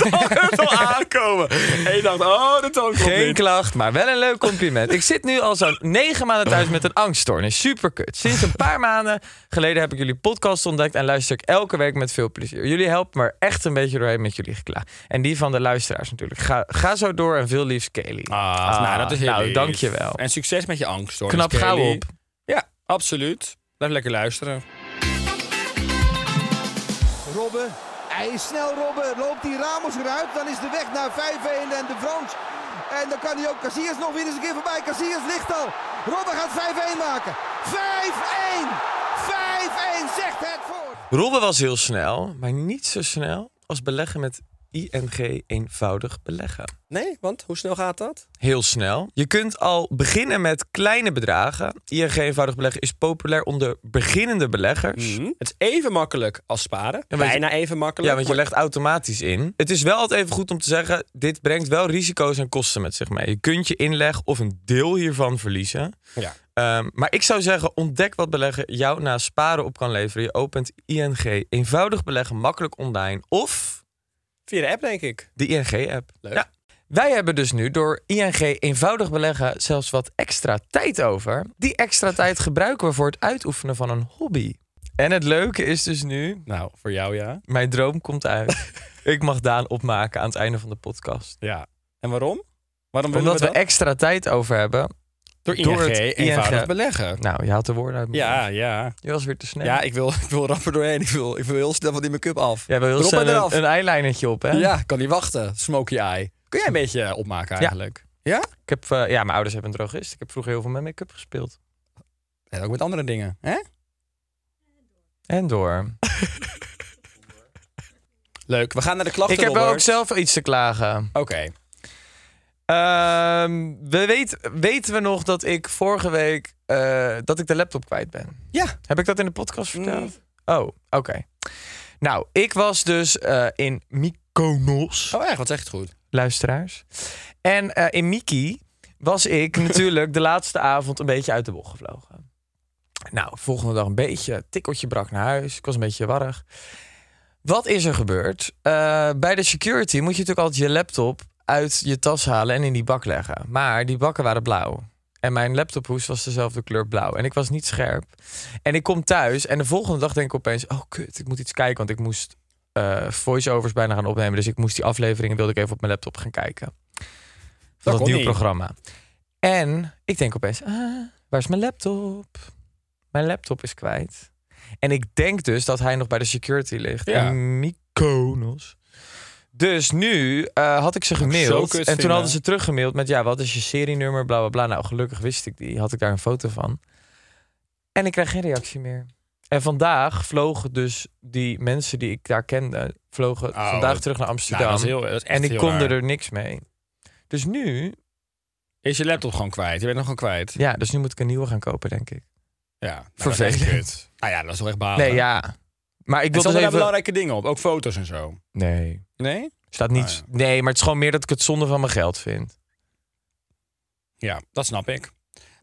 Speaker 1: zal aankomen. En je dacht, oh, dat toon komt
Speaker 3: Geen
Speaker 1: niet.
Speaker 3: klacht, maar wel een leuk compliment. Ik zit nu al zo'n negen maanden thuis met een angststoornis. Super kut. Sinds een paar maanden geleden heb ik jullie podcast ontdekt en luister ik elke week met veel plezier. Jullie helpen me er echt een beetje doorheen met jullie geklaag. En die van de luisteraars natuurlijk. Ga, ga zo door en veel liefst Kelly.
Speaker 1: Ah,
Speaker 3: Ah,
Speaker 1: nou, dat is heel
Speaker 3: nou,
Speaker 1: lief.
Speaker 3: dankjewel.
Speaker 1: En succes met je angst, hoor.
Speaker 3: Knap
Speaker 1: Dus
Speaker 3: gauw
Speaker 1: Kelly.
Speaker 3: op.
Speaker 1: Ja, absoluut. Blijf lekker luisteren.
Speaker 4: Robben, hij is snel Robben. Loopt die Ramos eruit, dan is de weg naar 5-1 en de Frans. En dan kan hij ook Casillas nog weer eens een keer voorbij. Casillas ligt al. Robben gaat 5-1 maken. 5-1! 5-1 zegt het voor.
Speaker 3: Robben was heel snel, maar niet zo snel als beleggen met ING eenvoudig beleggen.
Speaker 1: Nee, want hoe snel gaat dat?
Speaker 3: Heel snel. Je kunt al beginnen met kleine bedragen. ING eenvoudig beleggen is populair onder beginnende beleggers.
Speaker 1: Het is even makkelijk als sparen.
Speaker 3: Mhm. Ja, want je-
Speaker 1: Bijna even makkelijk.
Speaker 3: Ja, want je legt automatisch in. Het is wel altijd even goed om te zeggen: dit brengt wel risico's en kosten met zich mee. Je kunt je inleg of een deel hiervan verliezen.
Speaker 1: Ja.
Speaker 3: Ehm, maar ik zou zeggen, ontdek wat beleggen jou na sparen op kan leveren. Je opent ING eenvoudig beleggen, makkelijk online of
Speaker 1: Via de app, denk ik.
Speaker 3: de ING-app.
Speaker 1: Leuk.
Speaker 3: Ja. Wij hebben dus nu door ING eenvoudig beleggen zelfs wat extra tijd over. Die extra tijd gebruiken we voor het uitoefenen van een hobby. En het leuke is dus nu,
Speaker 1: Nou, voor jou ja.
Speaker 3: mijn droom komt uit. ik mag Daan opmaken aan het einde van de podcast.
Speaker 1: Ja. En waarom? Waarom willen
Speaker 3: Omdat we
Speaker 1: we dat?
Speaker 3: extra tijd over hebben.
Speaker 1: door ING
Speaker 3: door het
Speaker 1: eenvoudig
Speaker 3: ING.
Speaker 1: beleggen.
Speaker 3: Nou, je haalt de woorden uit. mijn mond.
Speaker 1: Ja, ja.
Speaker 3: Je was weer te snel.
Speaker 1: Ja, ik wil, ik wil rapper doorheen. Ik wil, ik wil heel snel van die make-up af.
Speaker 3: Jij wil heel
Speaker 1: Erop en
Speaker 3: snel
Speaker 1: eraf.
Speaker 3: een, een eyelinertje op, hè?
Speaker 1: Ja, kan niet wachten. Smoky eye. Kun
Speaker 3: Hm.
Speaker 1: jij een beetje eh, opmaken eigenlijk? Ja?
Speaker 3: Ik heb, eh, ja, mijn ouders hebben een drogist. Ik heb vroeger heel veel met make-up gespeeld.
Speaker 1: En ook met andere dingen. Hè?
Speaker 3: En door.
Speaker 1: Leuk. We gaan naar de klachten,
Speaker 3: Ik heb wel
Speaker 1: Robert.
Speaker 3: ook zelf iets te klagen.
Speaker 1: Oké.
Speaker 3: Ehm, we weet, weten we nog dat ik vorige week eh, dat ik de laptop kwijt ben?
Speaker 1: Ja.
Speaker 3: Heb ik dat in de podcast verteld?
Speaker 1: Mm.
Speaker 3: Oh, oké. Nou, ik was dus eh, in Mykonos,
Speaker 1: Oh, echt? Wat echt goed.
Speaker 3: luisteraars. En eh, in Miki was ik natuurlijk de laatste avond een beetje uit de bocht gevlogen. Nou, volgende dag een beetje tikkeltje brak naar huis. Ik was een beetje warrig. Wat is er gebeurd? Eh, bij de security moet je natuurlijk altijd je laptop uit je tas halen en in die bak leggen. Maar die bakken waren blauw. En mijn laptophoes was dezelfde kleur blauw. En ik was niet scherp. En ik kom thuis en de volgende dag denk ik opeens... oh kut, ik moet iets kijken, want ik moest eh voice-overs bijna gaan opnemen. Dus ik moest die afleveringen, wilde ik even op mijn laptop gaan kijken. Van dat,
Speaker 1: kon
Speaker 3: nieuwe
Speaker 1: niet.
Speaker 3: programma. En ik denk opeens, ah, waar is mijn laptop? Mijn laptop is kwijt. En ik denk dus dat hij nog bij de security ligt.
Speaker 1: Ja.
Speaker 3: En Mykonos. Dus nu eh, had ik ze
Speaker 1: Zo
Speaker 3: gemaild.
Speaker 1: kut
Speaker 3: En toen
Speaker 1: vinden.
Speaker 3: hadden ze teruggemaild met ja, wat is je serienummer, bla bla bla. Nou, gelukkig wist ik die. Had ik daar een foto van. En ik krijg geen reactie meer. En vandaag vlogen dus die mensen die ik daar kende, vlogen
Speaker 1: Oh,
Speaker 3: vandaag
Speaker 1: dat-
Speaker 3: terug naar
Speaker 1: Nou,
Speaker 3: Amsterdam.
Speaker 1: dat is heel, dat is echt
Speaker 3: en ik
Speaker 1: heel
Speaker 3: kon
Speaker 1: raar.
Speaker 3: er niks mee. Dus nu,
Speaker 1: Is je laptop gewoon kwijt? Je bent nog gewoon kwijt.
Speaker 3: ja, dus nu moet ik een nieuwe gaan kopen, denk ik.
Speaker 1: Ja. Nou, dat is
Speaker 3: Vervelend.
Speaker 1: echt kut. Nou ja, dat is toch echt balen.
Speaker 3: Nee, ja. Maar ik
Speaker 1: Er
Speaker 3: wil
Speaker 1: staan
Speaker 3: dus
Speaker 1: wel
Speaker 3: even...
Speaker 1: belangrijke dingen op. Ook foto's en zo.
Speaker 3: Nee.
Speaker 1: Nee?
Speaker 3: Staat niet...
Speaker 1: Ah,
Speaker 3: Nee, maar het is gewoon meer dat ik het zonde van mijn geld vind.
Speaker 1: Ja, dat snap ik.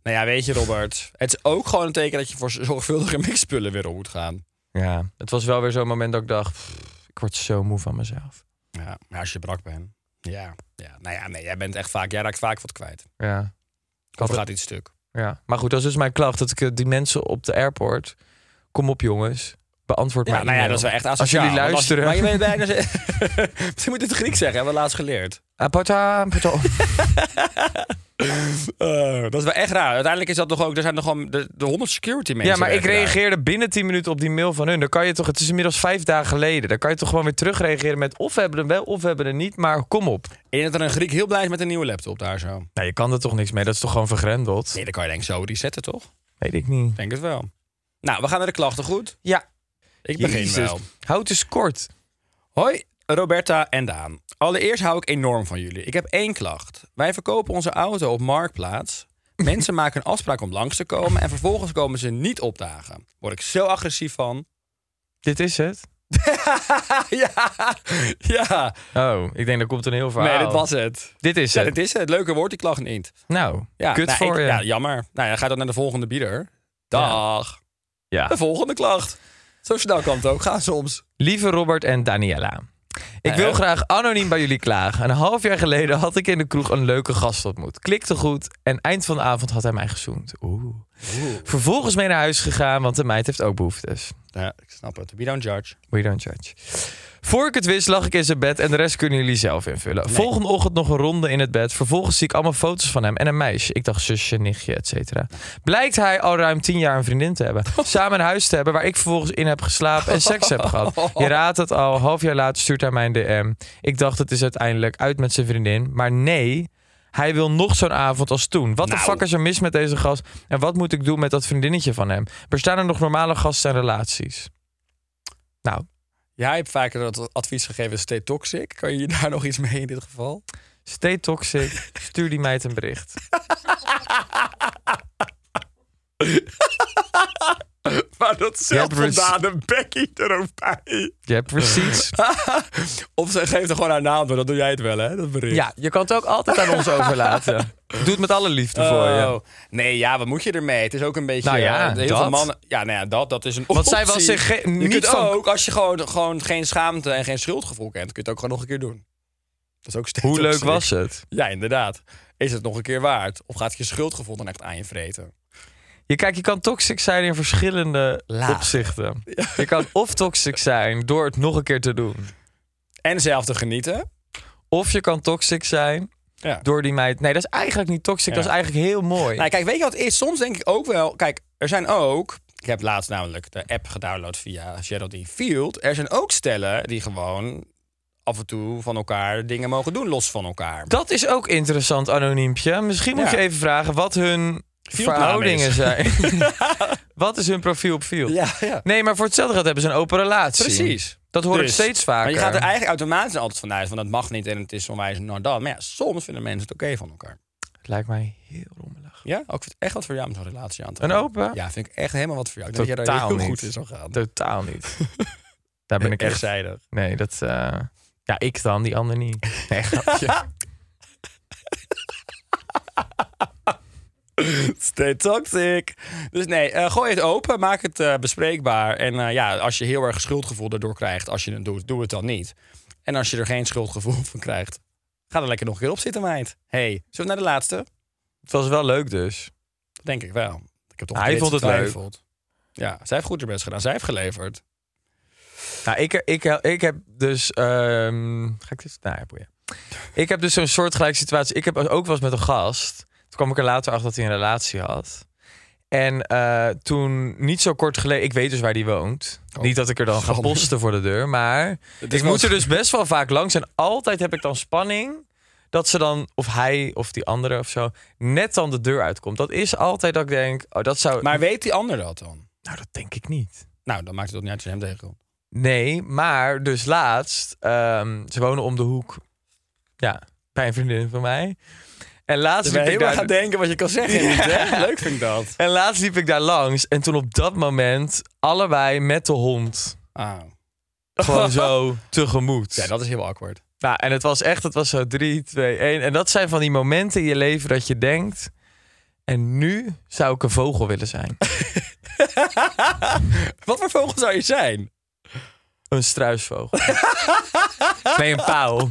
Speaker 1: Nou ja, weet je Robert. Het is ook gewoon een teken dat je voor zorgvuldige mixspullen weer op moet gaan.
Speaker 3: Ja. Het was wel weer zo'n moment dat ik dacht, pff, ik word zo moe van mezelf.
Speaker 1: Ja, maar als je brak bent. Ja, ja. Nou ja, nee, jij bent echt vaak, jij raakt vaak wat kwijt.
Speaker 3: Ja.
Speaker 1: Of
Speaker 3: had
Speaker 1: er
Speaker 3: het-
Speaker 1: gaat iets stuk.
Speaker 3: ja. Maar goed, dat is dus mijn klacht. Dat ik eh, die mensen op de airport... Kom op jongens, beantwoord
Speaker 1: Ja,
Speaker 3: mijn
Speaker 1: nou ja,
Speaker 3: e-mail.
Speaker 1: dat is wel echt asociaal.
Speaker 3: Als jullie
Speaker 1: want
Speaker 3: luisteren.
Speaker 1: maar je bent bijna... Misschien moet je het Grieks zeggen, hebben we laatst geleerd.
Speaker 3: Ah, Aparta, aparta.
Speaker 1: Eh, dat is wel echt raar. Uiteindelijk is dat nog ook... Er zijn nog gewoon de, de 100 security mensen.
Speaker 3: Ja, maar ik
Speaker 1: werken daar.
Speaker 3: reageerde binnen 10 minuten op die mail van hun. Dan kan je toch, het is inmiddels vijf dagen geleden. Dan kan je toch gewoon weer terugreageren met of we hebben er wel of we hebben er niet. Maar kom op.
Speaker 1: Ik denk dat er een Griek heel blij is met een nieuwe laptop daar zo.
Speaker 3: Nou, je kan er toch niks mee. Dat is toch gewoon vergrendeld?
Speaker 1: Nee, dan kan je denk ik zo resetten, toch?
Speaker 3: Weet ik niet.
Speaker 1: Ik denk het wel. Nou, we gaan naar de klachten, goed?
Speaker 3: Ja,
Speaker 1: Ik begin
Speaker 3: Jezus.
Speaker 1: wel.
Speaker 3: houd eens kort.
Speaker 1: Hoi, Roberta en Daan. Allereerst hou ik enorm van jullie. Ik heb één klacht. Wij verkopen onze auto op Marktplaats. Mensen maken een afspraak om langs te komen en vervolgens komen ze niet opdagen. Word ik zo agressief van.
Speaker 3: Dit is het.
Speaker 1: ja, ja.
Speaker 3: Oh, ik denk dat komt een heel verhaal.
Speaker 1: Nee, dit was het.
Speaker 3: Dit is
Speaker 1: Ja,
Speaker 3: het.
Speaker 1: dit is het. Leuke woord, die klacht niet.
Speaker 3: Nou,
Speaker 1: Ja,
Speaker 3: kut
Speaker 1: nou,
Speaker 3: voor
Speaker 1: ik-
Speaker 3: je.
Speaker 1: Ja, jammer. Nou ja, ga dan naar de volgende bieder. Dag.
Speaker 3: Ja.
Speaker 1: De volgende klacht. Zo snel kan het ook gaan soms.
Speaker 3: Lieve Robert en Daniela. Ik
Speaker 1: Ja,
Speaker 3: wil
Speaker 1: Nou, hè?
Speaker 3: graag anoniem bij jullie klagen. Een half jaar geleden had ik in de kroeg een leuke gast ontmoet. Klikte goed en eind van de avond had hij mij gezoend. Oeh. Vervolgens mee naar huis gegaan, want de meid heeft ook behoeftes.
Speaker 1: Ja, ik snap het. We don't judge.
Speaker 3: We don't judge. Voor ik het wist lag ik in zijn bed en de rest kunnen jullie zelf invullen. Volgende ochtend nog een ronde in het bed. Vervolgens zie ik allemaal foto's van hem en een meisje. Ik dacht zusje, nichtje, et cetera. Blijkt hij al ruim tien jaar een vriendin te hebben. Samen een huis te hebben waar ik vervolgens in heb geslapen en seks heb gehad. Je raadt het al, half jaar later stuurt hij mij een DM. Ik dacht het is uiteindelijk uit met zijn vriendin. Maar nee, hij wil nog zo'n avond als toen. Wat de
Speaker 1: Nou.
Speaker 3: fuck is er mis met deze gast? En wat moet ik doen met dat vriendinnetje van hem? Bestaan er nog normale gasten en relaties? Nou,
Speaker 1: Jij hebt vaker dat advies gegeven, stay toxic. Kan je daar nog iets mee in dit geval?
Speaker 3: Stay toxic. Stuur die meid een bericht.
Speaker 1: Maar dat zegt
Speaker 3: Ja, precies.
Speaker 1: vandaan een Becky er ook bij.
Speaker 3: Je hebt receipts.
Speaker 1: Of ze geeft er gewoon haar naam door, dan doe jij het wel, hè? Dat bericht.
Speaker 3: Ja, je kan het ook altijd aan ons overlaten. Doe het met alle liefde voor je.
Speaker 1: Oh. Nee, ja, wat moet je ermee? Het is ook een beetje...
Speaker 3: Nou ja,
Speaker 1: eh, heel
Speaker 3: dat.
Speaker 1: veel mannen... Ja, nou ja, dat, dat is een
Speaker 3: Want zij was
Speaker 1: optie.
Speaker 3: zich ge-
Speaker 1: Je
Speaker 3: niet
Speaker 1: kunt
Speaker 3: van-
Speaker 1: ook, als je gewoon, gewoon geen schaamte en geen schuldgevoel kent... kun je het ook gewoon nog een keer doen. Dat is ook stay
Speaker 3: Hoe leuk
Speaker 1: toxic.
Speaker 3: was het?
Speaker 1: Ja, inderdaad. Is het nog een keer waard? Of gaat je schuldgevoel dan echt aan je vreten?
Speaker 3: Je, kijk, je kan toxic zijn in verschillende
Speaker 1: Lagen.
Speaker 3: opzichten. Je kan of toxic zijn door het nog een keer te doen.
Speaker 1: En zelf te genieten.
Speaker 3: Of je kan toxic zijn
Speaker 1: Ja.
Speaker 3: door die meid... Nee, dat is eigenlijk niet toxic. Dat is eigenlijk heel mooi.
Speaker 1: Nou, kijk, weet je wat het is? Soms denk ik ook wel... Kijk, er zijn ook... Ik heb laatst namelijk de app gedownload via Geraldine Field. Er zijn ook stellen die gewoon af en toe van elkaar dingen mogen doen, los van elkaar.
Speaker 3: Dat is ook interessant, anoniempje. Misschien moet
Speaker 1: Ja.
Speaker 3: je even vragen wat hun
Speaker 1: Fieldnaam
Speaker 3: verhoudingen
Speaker 1: is.
Speaker 3: zijn. wat is hun profiel op Field?
Speaker 1: Ja, ja.
Speaker 3: Nee, maar voor hetzelfde geld hebben ze een open relatie.
Speaker 1: Precies.
Speaker 3: Dat hoor ik
Speaker 1: Dus,
Speaker 3: steeds vaker.
Speaker 1: Maar je gaat er eigenlijk automatisch altijd van uit, van dat mag niet en het is onwijs nou dan. Maar ja, soms vinden mensen het oké van elkaar.
Speaker 3: Lijkt mij heel rommelig.
Speaker 1: Ja, ook ik vind het echt wat voor jou om zo'n relatie aan te
Speaker 3: Een
Speaker 1: gaan.
Speaker 3: open?
Speaker 1: Ja, vind ik echt helemaal wat voor jou. Ik denk dat jij daar
Speaker 3: Totaal
Speaker 1: heel
Speaker 3: niet.
Speaker 1: goed in zou gaan.
Speaker 3: Totaal niet. Daar ben ik
Speaker 1: echt
Speaker 3: echt...
Speaker 1: zijdig.
Speaker 3: Nee, dat... eh, Ja, ik dan, die ander niet. Nee, grapje.
Speaker 1: Stay toxic. Dus nee, eh, gooi het open, maak het eh, bespreekbaar. En eh, ja, als je heel erg schuldgevoel erdoor krijgt als je het doet, doe het dan niet. En als je er geen schuldgevoel van krijgt, ga er lekker nog een keer op zitten, meid. hey, zullen we naar de laatste?
Speaker 3: het was wel leuk dus.
Speaker 1: Dat denk ik wel. Ik heb toch
Speaker 3: Hij
Speaker 1: een beetje
Speaker 3: vond het leuk.
Speaker 1: getwijfeld. Ja, zij heeft goed haar best gedaan. Zij heeft geleverd.
Speaker 3: Nou, ik, ik, ik heb dus... ehm, ga ik dit... Nou ja, boeien. Ik heb dus zo'n soortgelijke situatie. Ik heb ook wel eens met een gast. Toen kwam ik er later achter dat hij een relatie had. En eh, toen, niet zo kort geleden... Ik weet dus waar die woont.
Speaker 1: Oh.
Speaker 3: Niet dat ik er dan ga
Speaker 1: Spannend.
Speaker 3: posten voor de deur, maar...
Speaker 1: Het is
Speaker 3: Ik dus
Speaker 1: wel-
Speaker 3: moet er dus best wel vaak langs. En altijd heb ik dan spanning dat ze dan, of hij of die andere of zo, net dan de deur uitkomt. Dat is altijd dat ik denk, oh, dat zou...
Speaker 1: Maar weet die ander dat dan?
Speaker 3: Nou, dat denk ik niet.
Speaker 1: Nou, dan maakt het ook niet uit als je hem tegenkomt.
Speaker 3: Nee, maar dus laatst, ehm, ze wonen om de hoek. Ja, bij een vriendin van mij. En laatst,
Speaker 1: Dus ben
Speaker 3: liep
Speaker 1: heel
Speaker 3: ik
Speaker 1: erg aan
Speaker 3: daar,
Speaker 1: het denken wat je kan zeggen. Niet, hè? Leuk vind ik dat.
Speaker 3: en laatst liep ik daar langs. En toen op dat moment, allebei met de hond,
Speaker 1: Ah.
Speaker 3: gewoon zo tegemoet.
Speaker 1: Ja, dat is heel awkward.
Speaker 3: Nou, en het was echt, het was zo 3, 2, 1. En dat zijn van die momenten in je leven dat je denkt. En nu zou ik een vogel willen zijn.
Speaker 1: Wat voor vogel zou je zijn?
Speaker 3: Een struisvogel. nee, een pauw.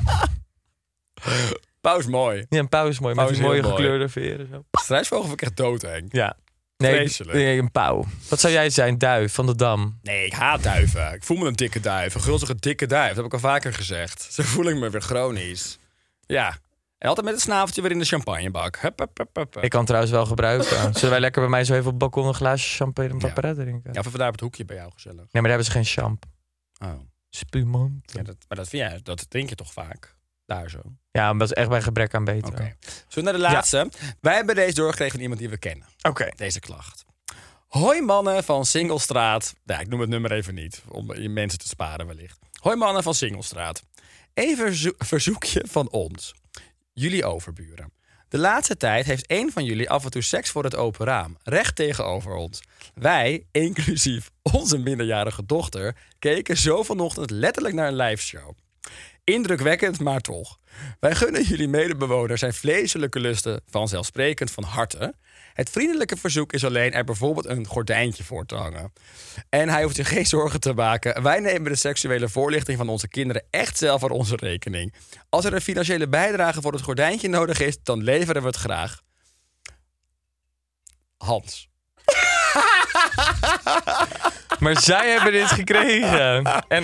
Speaker 1: Pauw is mooi.
Speaker 3: Ja, een pauw is mooi.
Speaker 1: Pauw
Speaker 3: met
Speaker 1: is
Speaker 3: die mooie
Speaker 1: heel mooi.
Speaker 3: gekleurde veren. Zo.
Speaker 1: Struisvogel vind ik echt doodeng.
Speaker 3: Ja. Nee,
Speaker 1: Vreselijk.
Speaker 3: nee, een pauw. Wat zou jij zijn? Duif van de Dam.
Speaker 1: Nee, ik haat duiven. Ik voel me een dikke duif. Een gulzige dikke duif. Dat heb ik al vaker gezegd. Zo voel ik me weer chronisch. Ja. En altijd met het snaveltje weer in de champagnebak. Hup, hup, hup, hup, hup.
Speaker 3: Ik kan het trouwens wel gebruiken. Zullen wij lekker bij mij zo even op het balkon een glaasje champagne en paparet drinken?
Speaker 1: Ja, of even daar op het hoekje bij jou gezellig.
Speaker 3: Nee, maar daar hebben ze geen champ.
Speaker 1: Oh.
Speaker 3: Spumant.
Speaker 1: Ja, dat, maar dat, vind jij, dat drink je toch vaak? Daar zo. Oké.
Speaker 3: Ja, maar dat is echt bij gebrek aan beter.
Speaker 1: Zo naar de laatste. Wij hebben deze doorgekregen van iemand die we kennen.
Speaker 3: Oké.
Speaker 1: Deze klacht. Hoi mannen van Singelstraat. Ja, ik noem het nummer even niet, om je mensen te sparen wellicht. Hoi mannen van Singelstraat. Even een zo- verzoekje van ons. Jullie overburen. De laatste tijd heeft één van jullie af en toe seks voor het open raam, recht tegenover ons. Wij, inclusief onze minderjarige dochter, keken zo vanochtend letterlijk naar een liveshow. Indrukwekkend, maar toch. Wij gunnen jullie medebewoners zijn vleeselijke lusten vanzelfsprekend van harte. Het vriendelijke verzoek is alleen er bijvoorbeeld een gordijntje voor te hangen. En hij hoeft zich geen zorgen te maken. Wij nemen de seksuele voorlichting van onze kinderen echt zelf aan onze rekening. Als er een financiële bijdrage voor het gordijntje nodig is, dan leveren we het graag. Hans.
Speaker 3: Maar zij hebben dit gekregen. En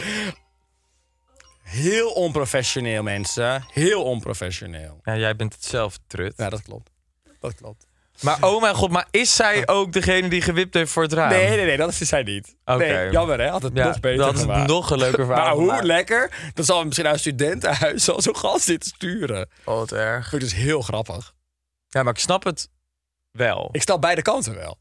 Speaker 1: Heel onprofessioneel, mensen. Heel onprofessioneel.
Speaker 3: ja, jij bent het zelf, trut.
Speaker 1: Ja, dat klopt. Dat klopt.
Speaker 3: Maar oh mijn god, maar is zij ook degene die gewipt heeft voor het raam?
Speaker 1: Nee, nee, nee, dat is zij niet.
Speaker 3: Oké.
Speaker 1: Nee, jammer, hè? Had het
Speaker 3: Ja,
Speaker 1: nog beter
Speaker 3: dat is
Speaker 1: gemaakt.
Speaker 3: nog een leuker verhaal.
Speaker 1: Maar hoe
Speaker 3: gemaakt.
Speaker 1: lekker. Dan zal misschien uit studentenhuis zal zo'n gast dit sturen.
Speaker 3: Oh, wat erg.
Speaker 1: Vind ik dus heel grappig.
Speaker 3: Ja, maar ik snap het wel.
Speaker 1: Ik snap beide kanten wel.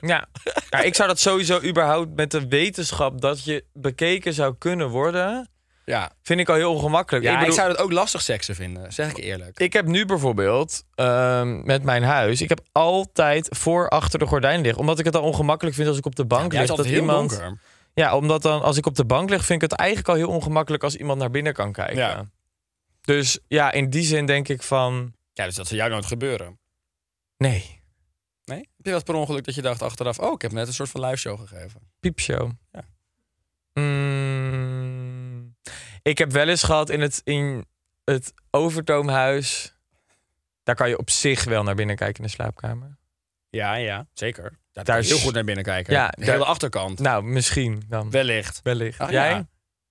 Speaker 3: Ja. ja, ik zou dat sowieso überhaupt met de wetenschap dat je bekeken zou kunnen worden,
Speaker 1: Ja,
Speaker 3: vind ik al heel ongemakkelijk.
Speaker 1: ja ik,
Speaker 3: bedoel,
Speaker 1: zou dat ook lastig seksen vinden, zeg ik eerlijk.
Speaker 3: ik heb nu bijvoorbeeld ehm, met mijn huis, ik heb altijd voor achter de gordijn liggen, omdat ik het al ongemakkelijk vind als ik op de bank
Speaker 1: Jij
Speaker 3: lig
Speaker 1: is
Speaker 3: dat
Speaker 1: altijd heel
Speaker 3: iemand.
Speaker 1: donker.
Speaker 3: Ja, omdat dan als ik op de bank lig, vind ik het eigenlijk al heel ongemakkelijk als iemand naar binnen kan kijken.
Speaker 1: Ja.
Speaker 3: Dus ja, in die zin denk ik van
Speaker 1: Ja, dus dat zou jou nooit gebeuren.
Speaker 3: nee,
Speaker 1: Nee? Heb je wel eens per ongeluk dat je dacht achteraf... oh, ik heb net een soort van live show gegeven.
Speaker 3: piepshow.
Speaker 1: Ja.
Speaker 3: Mm, ik heb wel eens gehad in het, in het Overtoomhuis. Daar kan je op zich wel naar binnen kijken in de slaapkamer.
Speaker 1: Ja, ja, zeker. Daar,
Speaker 3: Daar
Speaker 1: kan je heel
Speaker 3: is-
Speaker 1: goed naar binnen kijken.
Speaker 3: Ja,
Speaker 1: de hele
Speaker 3: daar-
Speaker 1: achterkant.
Speaker 3: Nou, misschien dan.
Speaker 1: Wellicht.
Speaker 3: Wellicht.
Speaker 1: Ach,
Speaker 3: Jij?
Speaker 1: Ah, ja.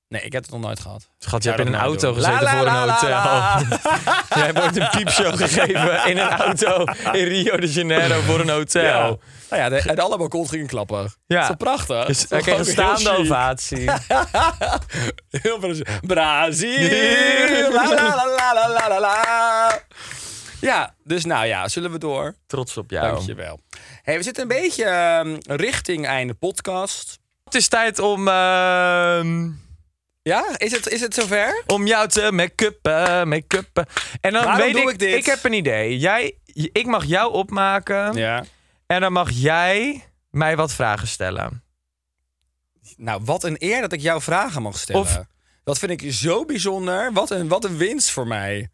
Speaker 1: Nee, ik heb het nog nooit gehad.
Speaker 3: Schat, je
Speaker 1: Zou
Speaker 3: hebt
Speaker 1: dat
Speaker 3: in een
Speaker 1: nou
Speaker 3: auto
Speaker 1: doen? La,
Speaker 3: gezeten
Speaker 1: la,
Speaker 3: voor een
Speaker 1: la, la,
Speaker 3: hotel.
Speaker 1: la.
Speaker 3: Jij wordt een piepshow gegeven in een auto in Rio de Janeiro voor een hotel.
Speaker 1: Ja. Nou ja, de, en alle balkons gingen klappen.
Speaker 3: Ja.
Speaker 1: Dat is toch prachtig?
Speaker 3: Dus
Speaker 1: Dat
Speaker 3: hij
Speaker 1: is
Speaker 3: kreeg een
Speaker 1: toch ook heel
Speaker 3: staande
Speaker 1: chic?
Speaker 3: ovatie.
Speaker 1: Heel Brazil. Brazil! La, la, la, la, la, la, la, la. Ja, dus nou ja, zullen we door?
Speaker 3: Trots op jou.
Speaker 1: Dankjewel. Hey, we zitten een beetje ehm, richting einde podcast.
Speaker 3: Het is tijd om, ehm,
Speaker 1: Ja, is het, is het zover?
Speaker 3: om jou te make-uppen, make-uppen. En dan
Speaker 1: Waarom
Speaker 3: weet
Speaker 1: doe
Speaker 3: ik,
Speaker 1: ik dit?
Speaker 3: ik heb een idee. Jij, ik mag jou opmaken
Speaker 1: Ja.
Speaker 3: en dan mag jij mij wat vragen stellen.
Speaker 1: Nou, wat een eer dat ik jou vragen mag stellen.
Speaker 3: Of-
Speaker 1: Dat vind ik zo bijzonder. Wat een, wat een winst voor mij.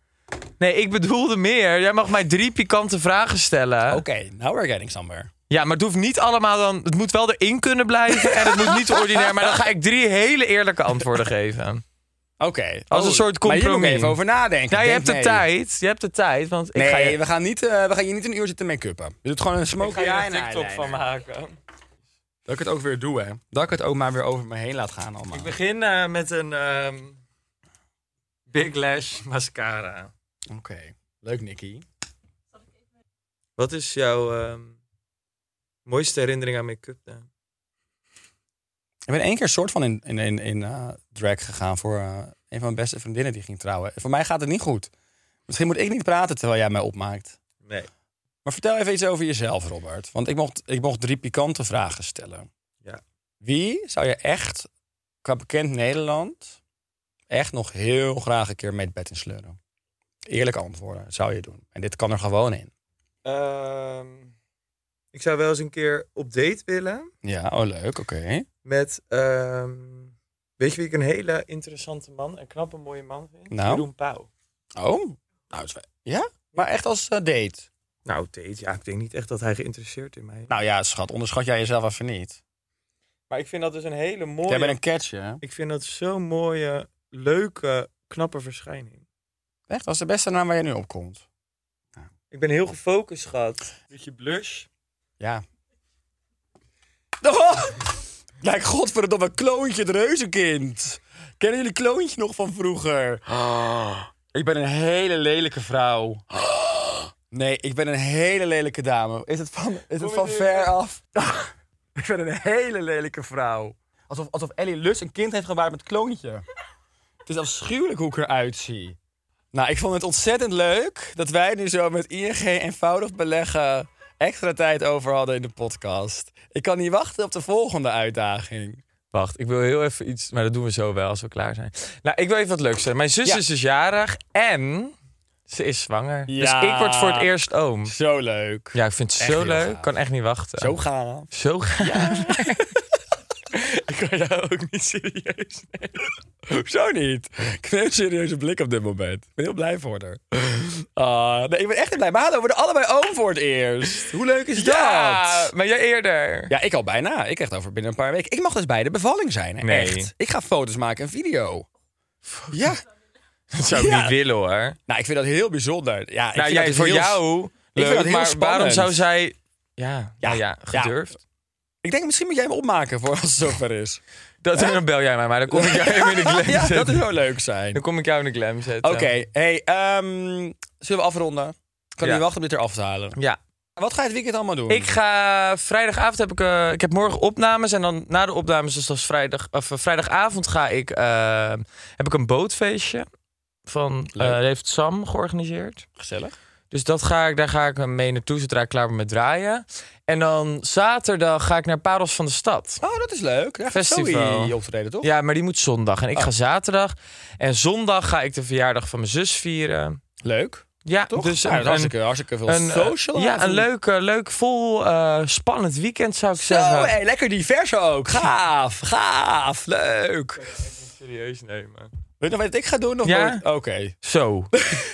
Speaker 3: Nee, ik bedoelde meer. Jij mag mij drie pikante vragen stellen.
Speaker 1: Oké, now we're getting somewhere.
Speaker 3: Ja, maar het hoeft niet allemaal dan... Het moet wel erin kunnen blijven en het moet niet te ordinair. Maar dan ga ik drie hele eerlijke antwoorden geven.
Speaker 1: Oké. Oh,
Speaker 3: Als een soort
Speaker 1: Maar hier moet ik
Speaker 3: compromis.
Speaker 1: even over nadenken.
Speaker 3: Nou,
Speaker 1: Ik
Speaker 3: je
Speaker 1: denk,
Speaker 3: hebt de
Speaker 1: nee.
Speaker 3: tijd. Je hebt de tijd, want
Speaker 1: Nee,
Speaker 3: ik ga je...
Speaker 1: we, gaan niet, eh, we gaan je niet een uur zitten make-uppen. Je doet gewoon een smoke.
Speaker 3: Ik ga
Speaker 1: ja,
Speaker 3: je een TikTok van maken.
Speaker 1: Dat ik het ook weer doe, hè. Dat ik het ook maar weer over me heen laat gaan allemaal.
Speaker 3: Ik begin eh, met een ehm, Big Lash mascara.
Speaker 1: Oké. Leuk, Nicky.
Speaker 3: Wat is jouw ehm, mooiste herinnering aan make-up dan?
Speaker 1: Ik ben één keer soort van in, in, in, in eh, drag gegaan voor eh, een van mijn beste vriendinnen die ging trouwen. Voor mij gaat het niet goed. Misschien moet ik niet praten terwijl jij mij opmaakt.
Speaker 3: Nee.
Speaker 1: Maar vertel even iets over jezelf, Robert. Want ik mocht, ik mocht drie pikante vragen stellen.
Speaker 3: Ja.
Speaker 1: Wie zou je echt, qua bekend Nederland, echt nog heel graag een keer met bed in sleuren? Eerlijk antwoorden, zou je doen. En dit kan er gewoon in.
Speaker 3: Ehm, ik zou wel eens een keer op date willen
Speaker 1: Ja, oh leuk, oké.
Speaker 3: met... ehm, weet je wie ik een hele interessante man, een knappe mooie man vind?
Speaker 1: Nou?
Speaker 3: Jeroen Pauw.
Speaker 1: Oh, nou, het is- ja? Maar echt als eh, date?
Speaker 3: Nou, date, ja, ik denk niet echt dat hij geïnteresseerd in mij is.
Speaker 1: Nou ja, schat, onderschat jij jezelf even niet.
Speaker 3: Maar ik vind dat dus een hele mooie...
Speaker 1: Jij bent een catcher, hè?
Speaker 3: Ik vind dat zo'n mooie, leuke, knappe verschijning.
Speaker 1: Echt, dat is de beste naam waar je nu op komt.
Speaker 3: Ik ben heel gefocust, schat. Beetje blush.
Speaker 1: Ja. Oh! Lijkt godverdomme kloontje het reuzenkind. Kennen jullie kloontje nog van vroeger? Oh, Ik ben een hele lelijke vrouw. Nee, ik ben een hele lelijke dame. Is het van, is het van ver af? ik ben een hele lelijke vrouw. Alsof, alsof Ellie Lus een kind heeft gebaard met kloontje. Het is afschuwelijk hoe ik eruit zie. Nou, ik vond het ontzettend leuk dat wij nu zo met ING eenvoudig beleggen extra tijd over hadden in de podcast. Ik kan niet wachten op de volgende uitdaging.
Speaker 3: Wacht, ik wil heel even iets... Maar dat doen we zo wel, als we klaar zijn. Nou, ik wil even wat leuks zeggen. Mijn zus
Speaker 1: Ja.
Speaker 3: is dus jarig en ze is zwanger.
Speaker 1: Ja.
Speaker 3: Dus ik word voor het eerst oom.
Speaker 1: Zo leuk.
Speaker 3: Ja, ik vind het
Speaker 1: Echt
Speaker 3: zo
Speaker 1: heel
Speaker 3: leuk.
Speaker 1: gaaf.
Speaker 3: kan echt niet wachten.
Speaker 1: Zo gaaf.
Speaker 3: Zo gaaf.
Speaker 1: Ik kan jou ook niet serieus nemen. Zo niet. Ik neem een serieuze blik op dit moment. Ik ben heel blij voor haar. Ah, nee, ik ben echt heel blij. Maar hallo, we worden allebei oom voor het eerst. Hoe leuk is
Speaker 3: Ja,
Speaker 1: dat?
Speaker 3: maar jij eerder.
Speaker 1: Ja, ik al bijna. Ik echt over binnen een paar weken. Ik mag dus bij de bevalling zijn. hè?
Speaker 3: Nee.
Speaker 1: Echt. Ik ga foto's maken en video. Ja.
Speaker 3: Dat zou ik
Speaker 1: Ja.
Speaker 3: niet willen, hoor.
Speaker 1: Nou, ik vind dat heel bijzonder. Ja, ik vind
Speaker 3: nou, jij,
Speaker 1: dat dus
Speaker 3: voor
Speaker 1: heel-
Speaker 3: jou leuk,
Speaker 1: vind dat heel
Speaker 3: maar waarom
Speaker 1: spannend.
Speaker 3: zou zij... Ja, ja, ja
Speaker 1: ja.
Speaker 3: gedurfd.
Speaker 1: Ik denk misschien moet jij hem opmaken voor als het zover is.
Speaker 3: Dat, dan bel jij mij, maar dan kom ik jou even in de klem
Speaker 1: ja,
Speaker 3: zetten.
Speaker 1: dat zou leuk zijn.
Speaker 3: Dan kom ik jou in de klem zetten.
Speaker 1: Oké, hey, ehm, zullen we afronden? Ik kan
Speaker 3: Ja.
Speaker 1: niet wachten om dit eraf te halen.
Speaker 3: Ja.
Speaker 1: Wat ga je het weekend allemaal doen?
Speaker 3: Ik ga vrijdagavond heb ik, eh, ik heb morgen opnames en dan na de opnames, dus dat is vrijdag, of eh, vrijdagavond ga ik, eh, heb ik een bootfeestje van, eh,
Speaker 1: Leuk.
Speaker 3: dat heeft Sam georganiseerd.
Speaker 1: Gezellig.
Speaker 3: Dus dat ga ik, daar ga ik mee naartoe zodra ik klaar ben met draaien. En dan zaterdag ga ik naar Parels van de Stad.
Speaker 1: Oh, dat is leuk. Daar gaat
Speaker 3: Festival.
Speaker 1: Zoe optreden, toch?
Speaker 3: Ja, maar die moet zondag en ik
Speaker 1: Oh.
Speaker 3: ga zaterdag. En zondag ga ik de verjaardag van mijn zus vieren.
Speaker 1: Leuk,
Speaker 3: Ja,
Speaker 1: toch?
Speaker 3: dus
Speaker 1: Ja,
Speaker 3: een-
Speaker 1: dat is hartstikke, hartstikke veel
Speaker 3: een, eh,
Speaker 1: social.
Speaker 3: ja, een
Speaker 1: avond.
Speaker 3: leuk, eh, leuk vol eh, spannend weekend zou ik
Speaker 1: Zo,
Speaker 3: zeggen.
Speaker 1: hey, lekker divers ook. Gaaf, gaaf, leuk.
Speaker 3: Serieus nemen.
Speaker 1: Weet je nog wat ik ga doen? Of
Speaker 3: Ja.
Speaker 1: nooit? Oké.
Speaker 3: Zo.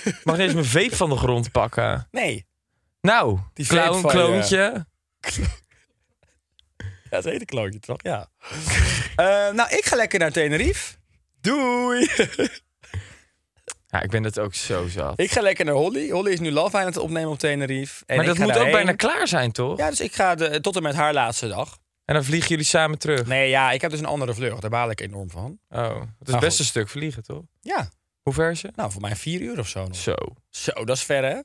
Speaker 3: Ik Mag ineens mijn veep van de grond pakken.
Speaker 1: Nee,
Speaker 3: Nou,
Speaker 1: Die
Speaker 3: clown,
Speaker 1: vape van je.
Speaker 3: kloontje.
Speaker 1: ja, dat heet een klootje, toch? Ja. Eh, nou, ik ga lekker naar Tenerife. Doei.
Speaker 3: Ja, ik ben dat ook zo zat.
Speaker 1: Ik ga lekker naar Holly. Holly is nu Love Island aan het opnemen op Tenerife. En
Speaker 3: maar
Speaker 1: ik
Speaker 3: dat
Speaker 1: ga
Speaker 3: moet ook
Speaker 1: daarheen.
Speaker 3: bijna klaar zijn, toch?
Speaker 1: Ja, dus ik ga de, tot en met haar laatste dag.
Speaker 3: En dan vliegen jullie samen terug.
Speaker 1: Nee, ja, ik heb dus een andere vlucht. Daar baal ik enorm van.
Speaker 3: Oh, het is
Speaker 1: Maar
Speaker 3: best
Speaker 1: Nou goed.
Speaker 3: een stuk vliegen, toch?
Speaker 1: Ja,
Speaker 3: Hoe ver is je?
Speaker 1: nou, voor mij vier uur of zo nog.
Speaker 3: Zo.
Speaker 1: Zo, dat is ver, hè?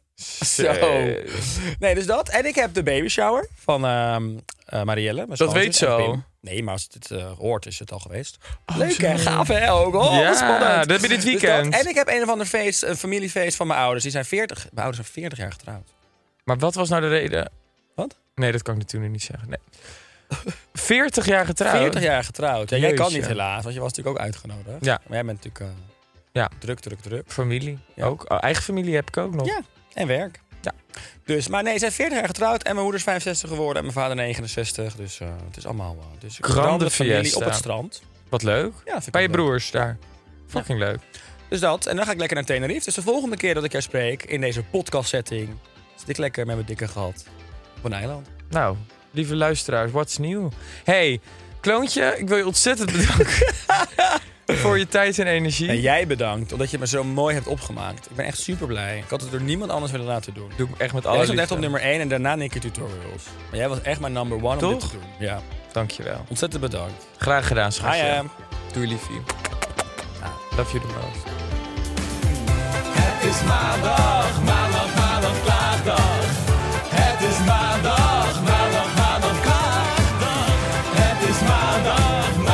Speaker 1: Zo.
Speaker 3: Zes.
Speaker 1: Nee, dus dat. En ik heb de baby shower van ehm, eh, Marielle. mijn schoonzus
Speaker 3: weet ze
Speaker 1: en
Speaker 3: al. Oh,
Speaker 1: Pim. Nee, maar als het dit eh, hoort, is het al geweest. Leuk,
Speaker 3: zo.
Speaker 1: hè? Gaaf, hè? Ook. Oh, wat
Speaker 3: Ja,
Speaker 1: spannend.
Speaker 3: dat heb je dit
Speaker 1: Dus
Speaker 3: weekend.
Speaker 1: dat. en ik heb een of ander feest, een familiefeest van mijn ouders. Die zijn 40. Mijn ouders zijn 40 jaar getrouwd.
Speaker 3: Maar wat was nou de reden?
Speaker 1: Wat?
Speaker 3: Nee, dat kan ik natuurlijk niet zeggen. Nee. 40 jaar getrouwd.
Speaker 1: 40 jaar getrouwd. Ja, jij kan
Speaker 3: Jeetje.
Speaker 1: niet helaas, want je was natuurlijk ook uitgenodigd.
Speaker 3: Ja.
Speaker 1: Maar jij bent natuurlijk eh,
Speaker 3: Ja.
Speaker 1: druk, druk, druk.
Speaker 3: Familie
Speaker 1: Ja.
Speaker 3: ook. Oh, eigen familie heb ik ook nog.
Speaker 1: Ja. En werk.
Speaker 3: Ja.
Speaker 1: Dus, maar nee, ze zijn 40 jaar getrouwd en mijn moeder is 65 geworden en mijn vader 69. Dus eh, het is allemaal... eh, dus ik
Speaker 3: Grande
Speaker 1: veranderde familie
Speaker 3: fiesta.
Speaker 1: op het strand.
Speaker 3: Wat leuk.
Speaker 1: Ja, vind ik
Speaker 3: Bij je
Speaker 1: wel leuk.
Speaker 3: broers daar. Fucking leuk.
Speaker 1: Dus dat. En dan ga ik lekker naar Tenerife. Dus de volgende keer dat ik jou spreek in deze podcast setting... zit ik lekker met mijn dikke gehad op een eiland.
Speaker 3: Nou, lieve luisteraars, what's new? Hey, kloontje, ik wil je ontzettend bedanken voor je tijd en energie.
Speaker 1: En jij bedankt, omdat je me zo mooi hebt opgemaakt. Ik ben echt super blij. Ik had het door niemand anders willen laten doen.
Speaker 3: Doe ik echt met
Speaker 1: jij
Speaker 3: alle
Speaker 1: stond echt op
Speaker 3: Oh, liefde.
Speaker 1: nummer 1 en daarna Nicky Tutorials. Maar jij was echt mijn number one om
Speaker 3: Toch?
Speaker 1: dit te doen. Ja,
Speaker 3: Dankjewel.
Speaker 1: ontzettend bedankt.
Speaker 3: Graag gedaan,
Speaker 1: Hi, eh.
Speaker 3: schatje.
Speaker 1: am.
Speaker 3: Doei, liefie. Ah, Love you the most.
Speaker 2: Het is maandag, maandag, maandag, klaagdag. Het is maandag, maandag, maandag, klaagdag. Het is maandag, maandag.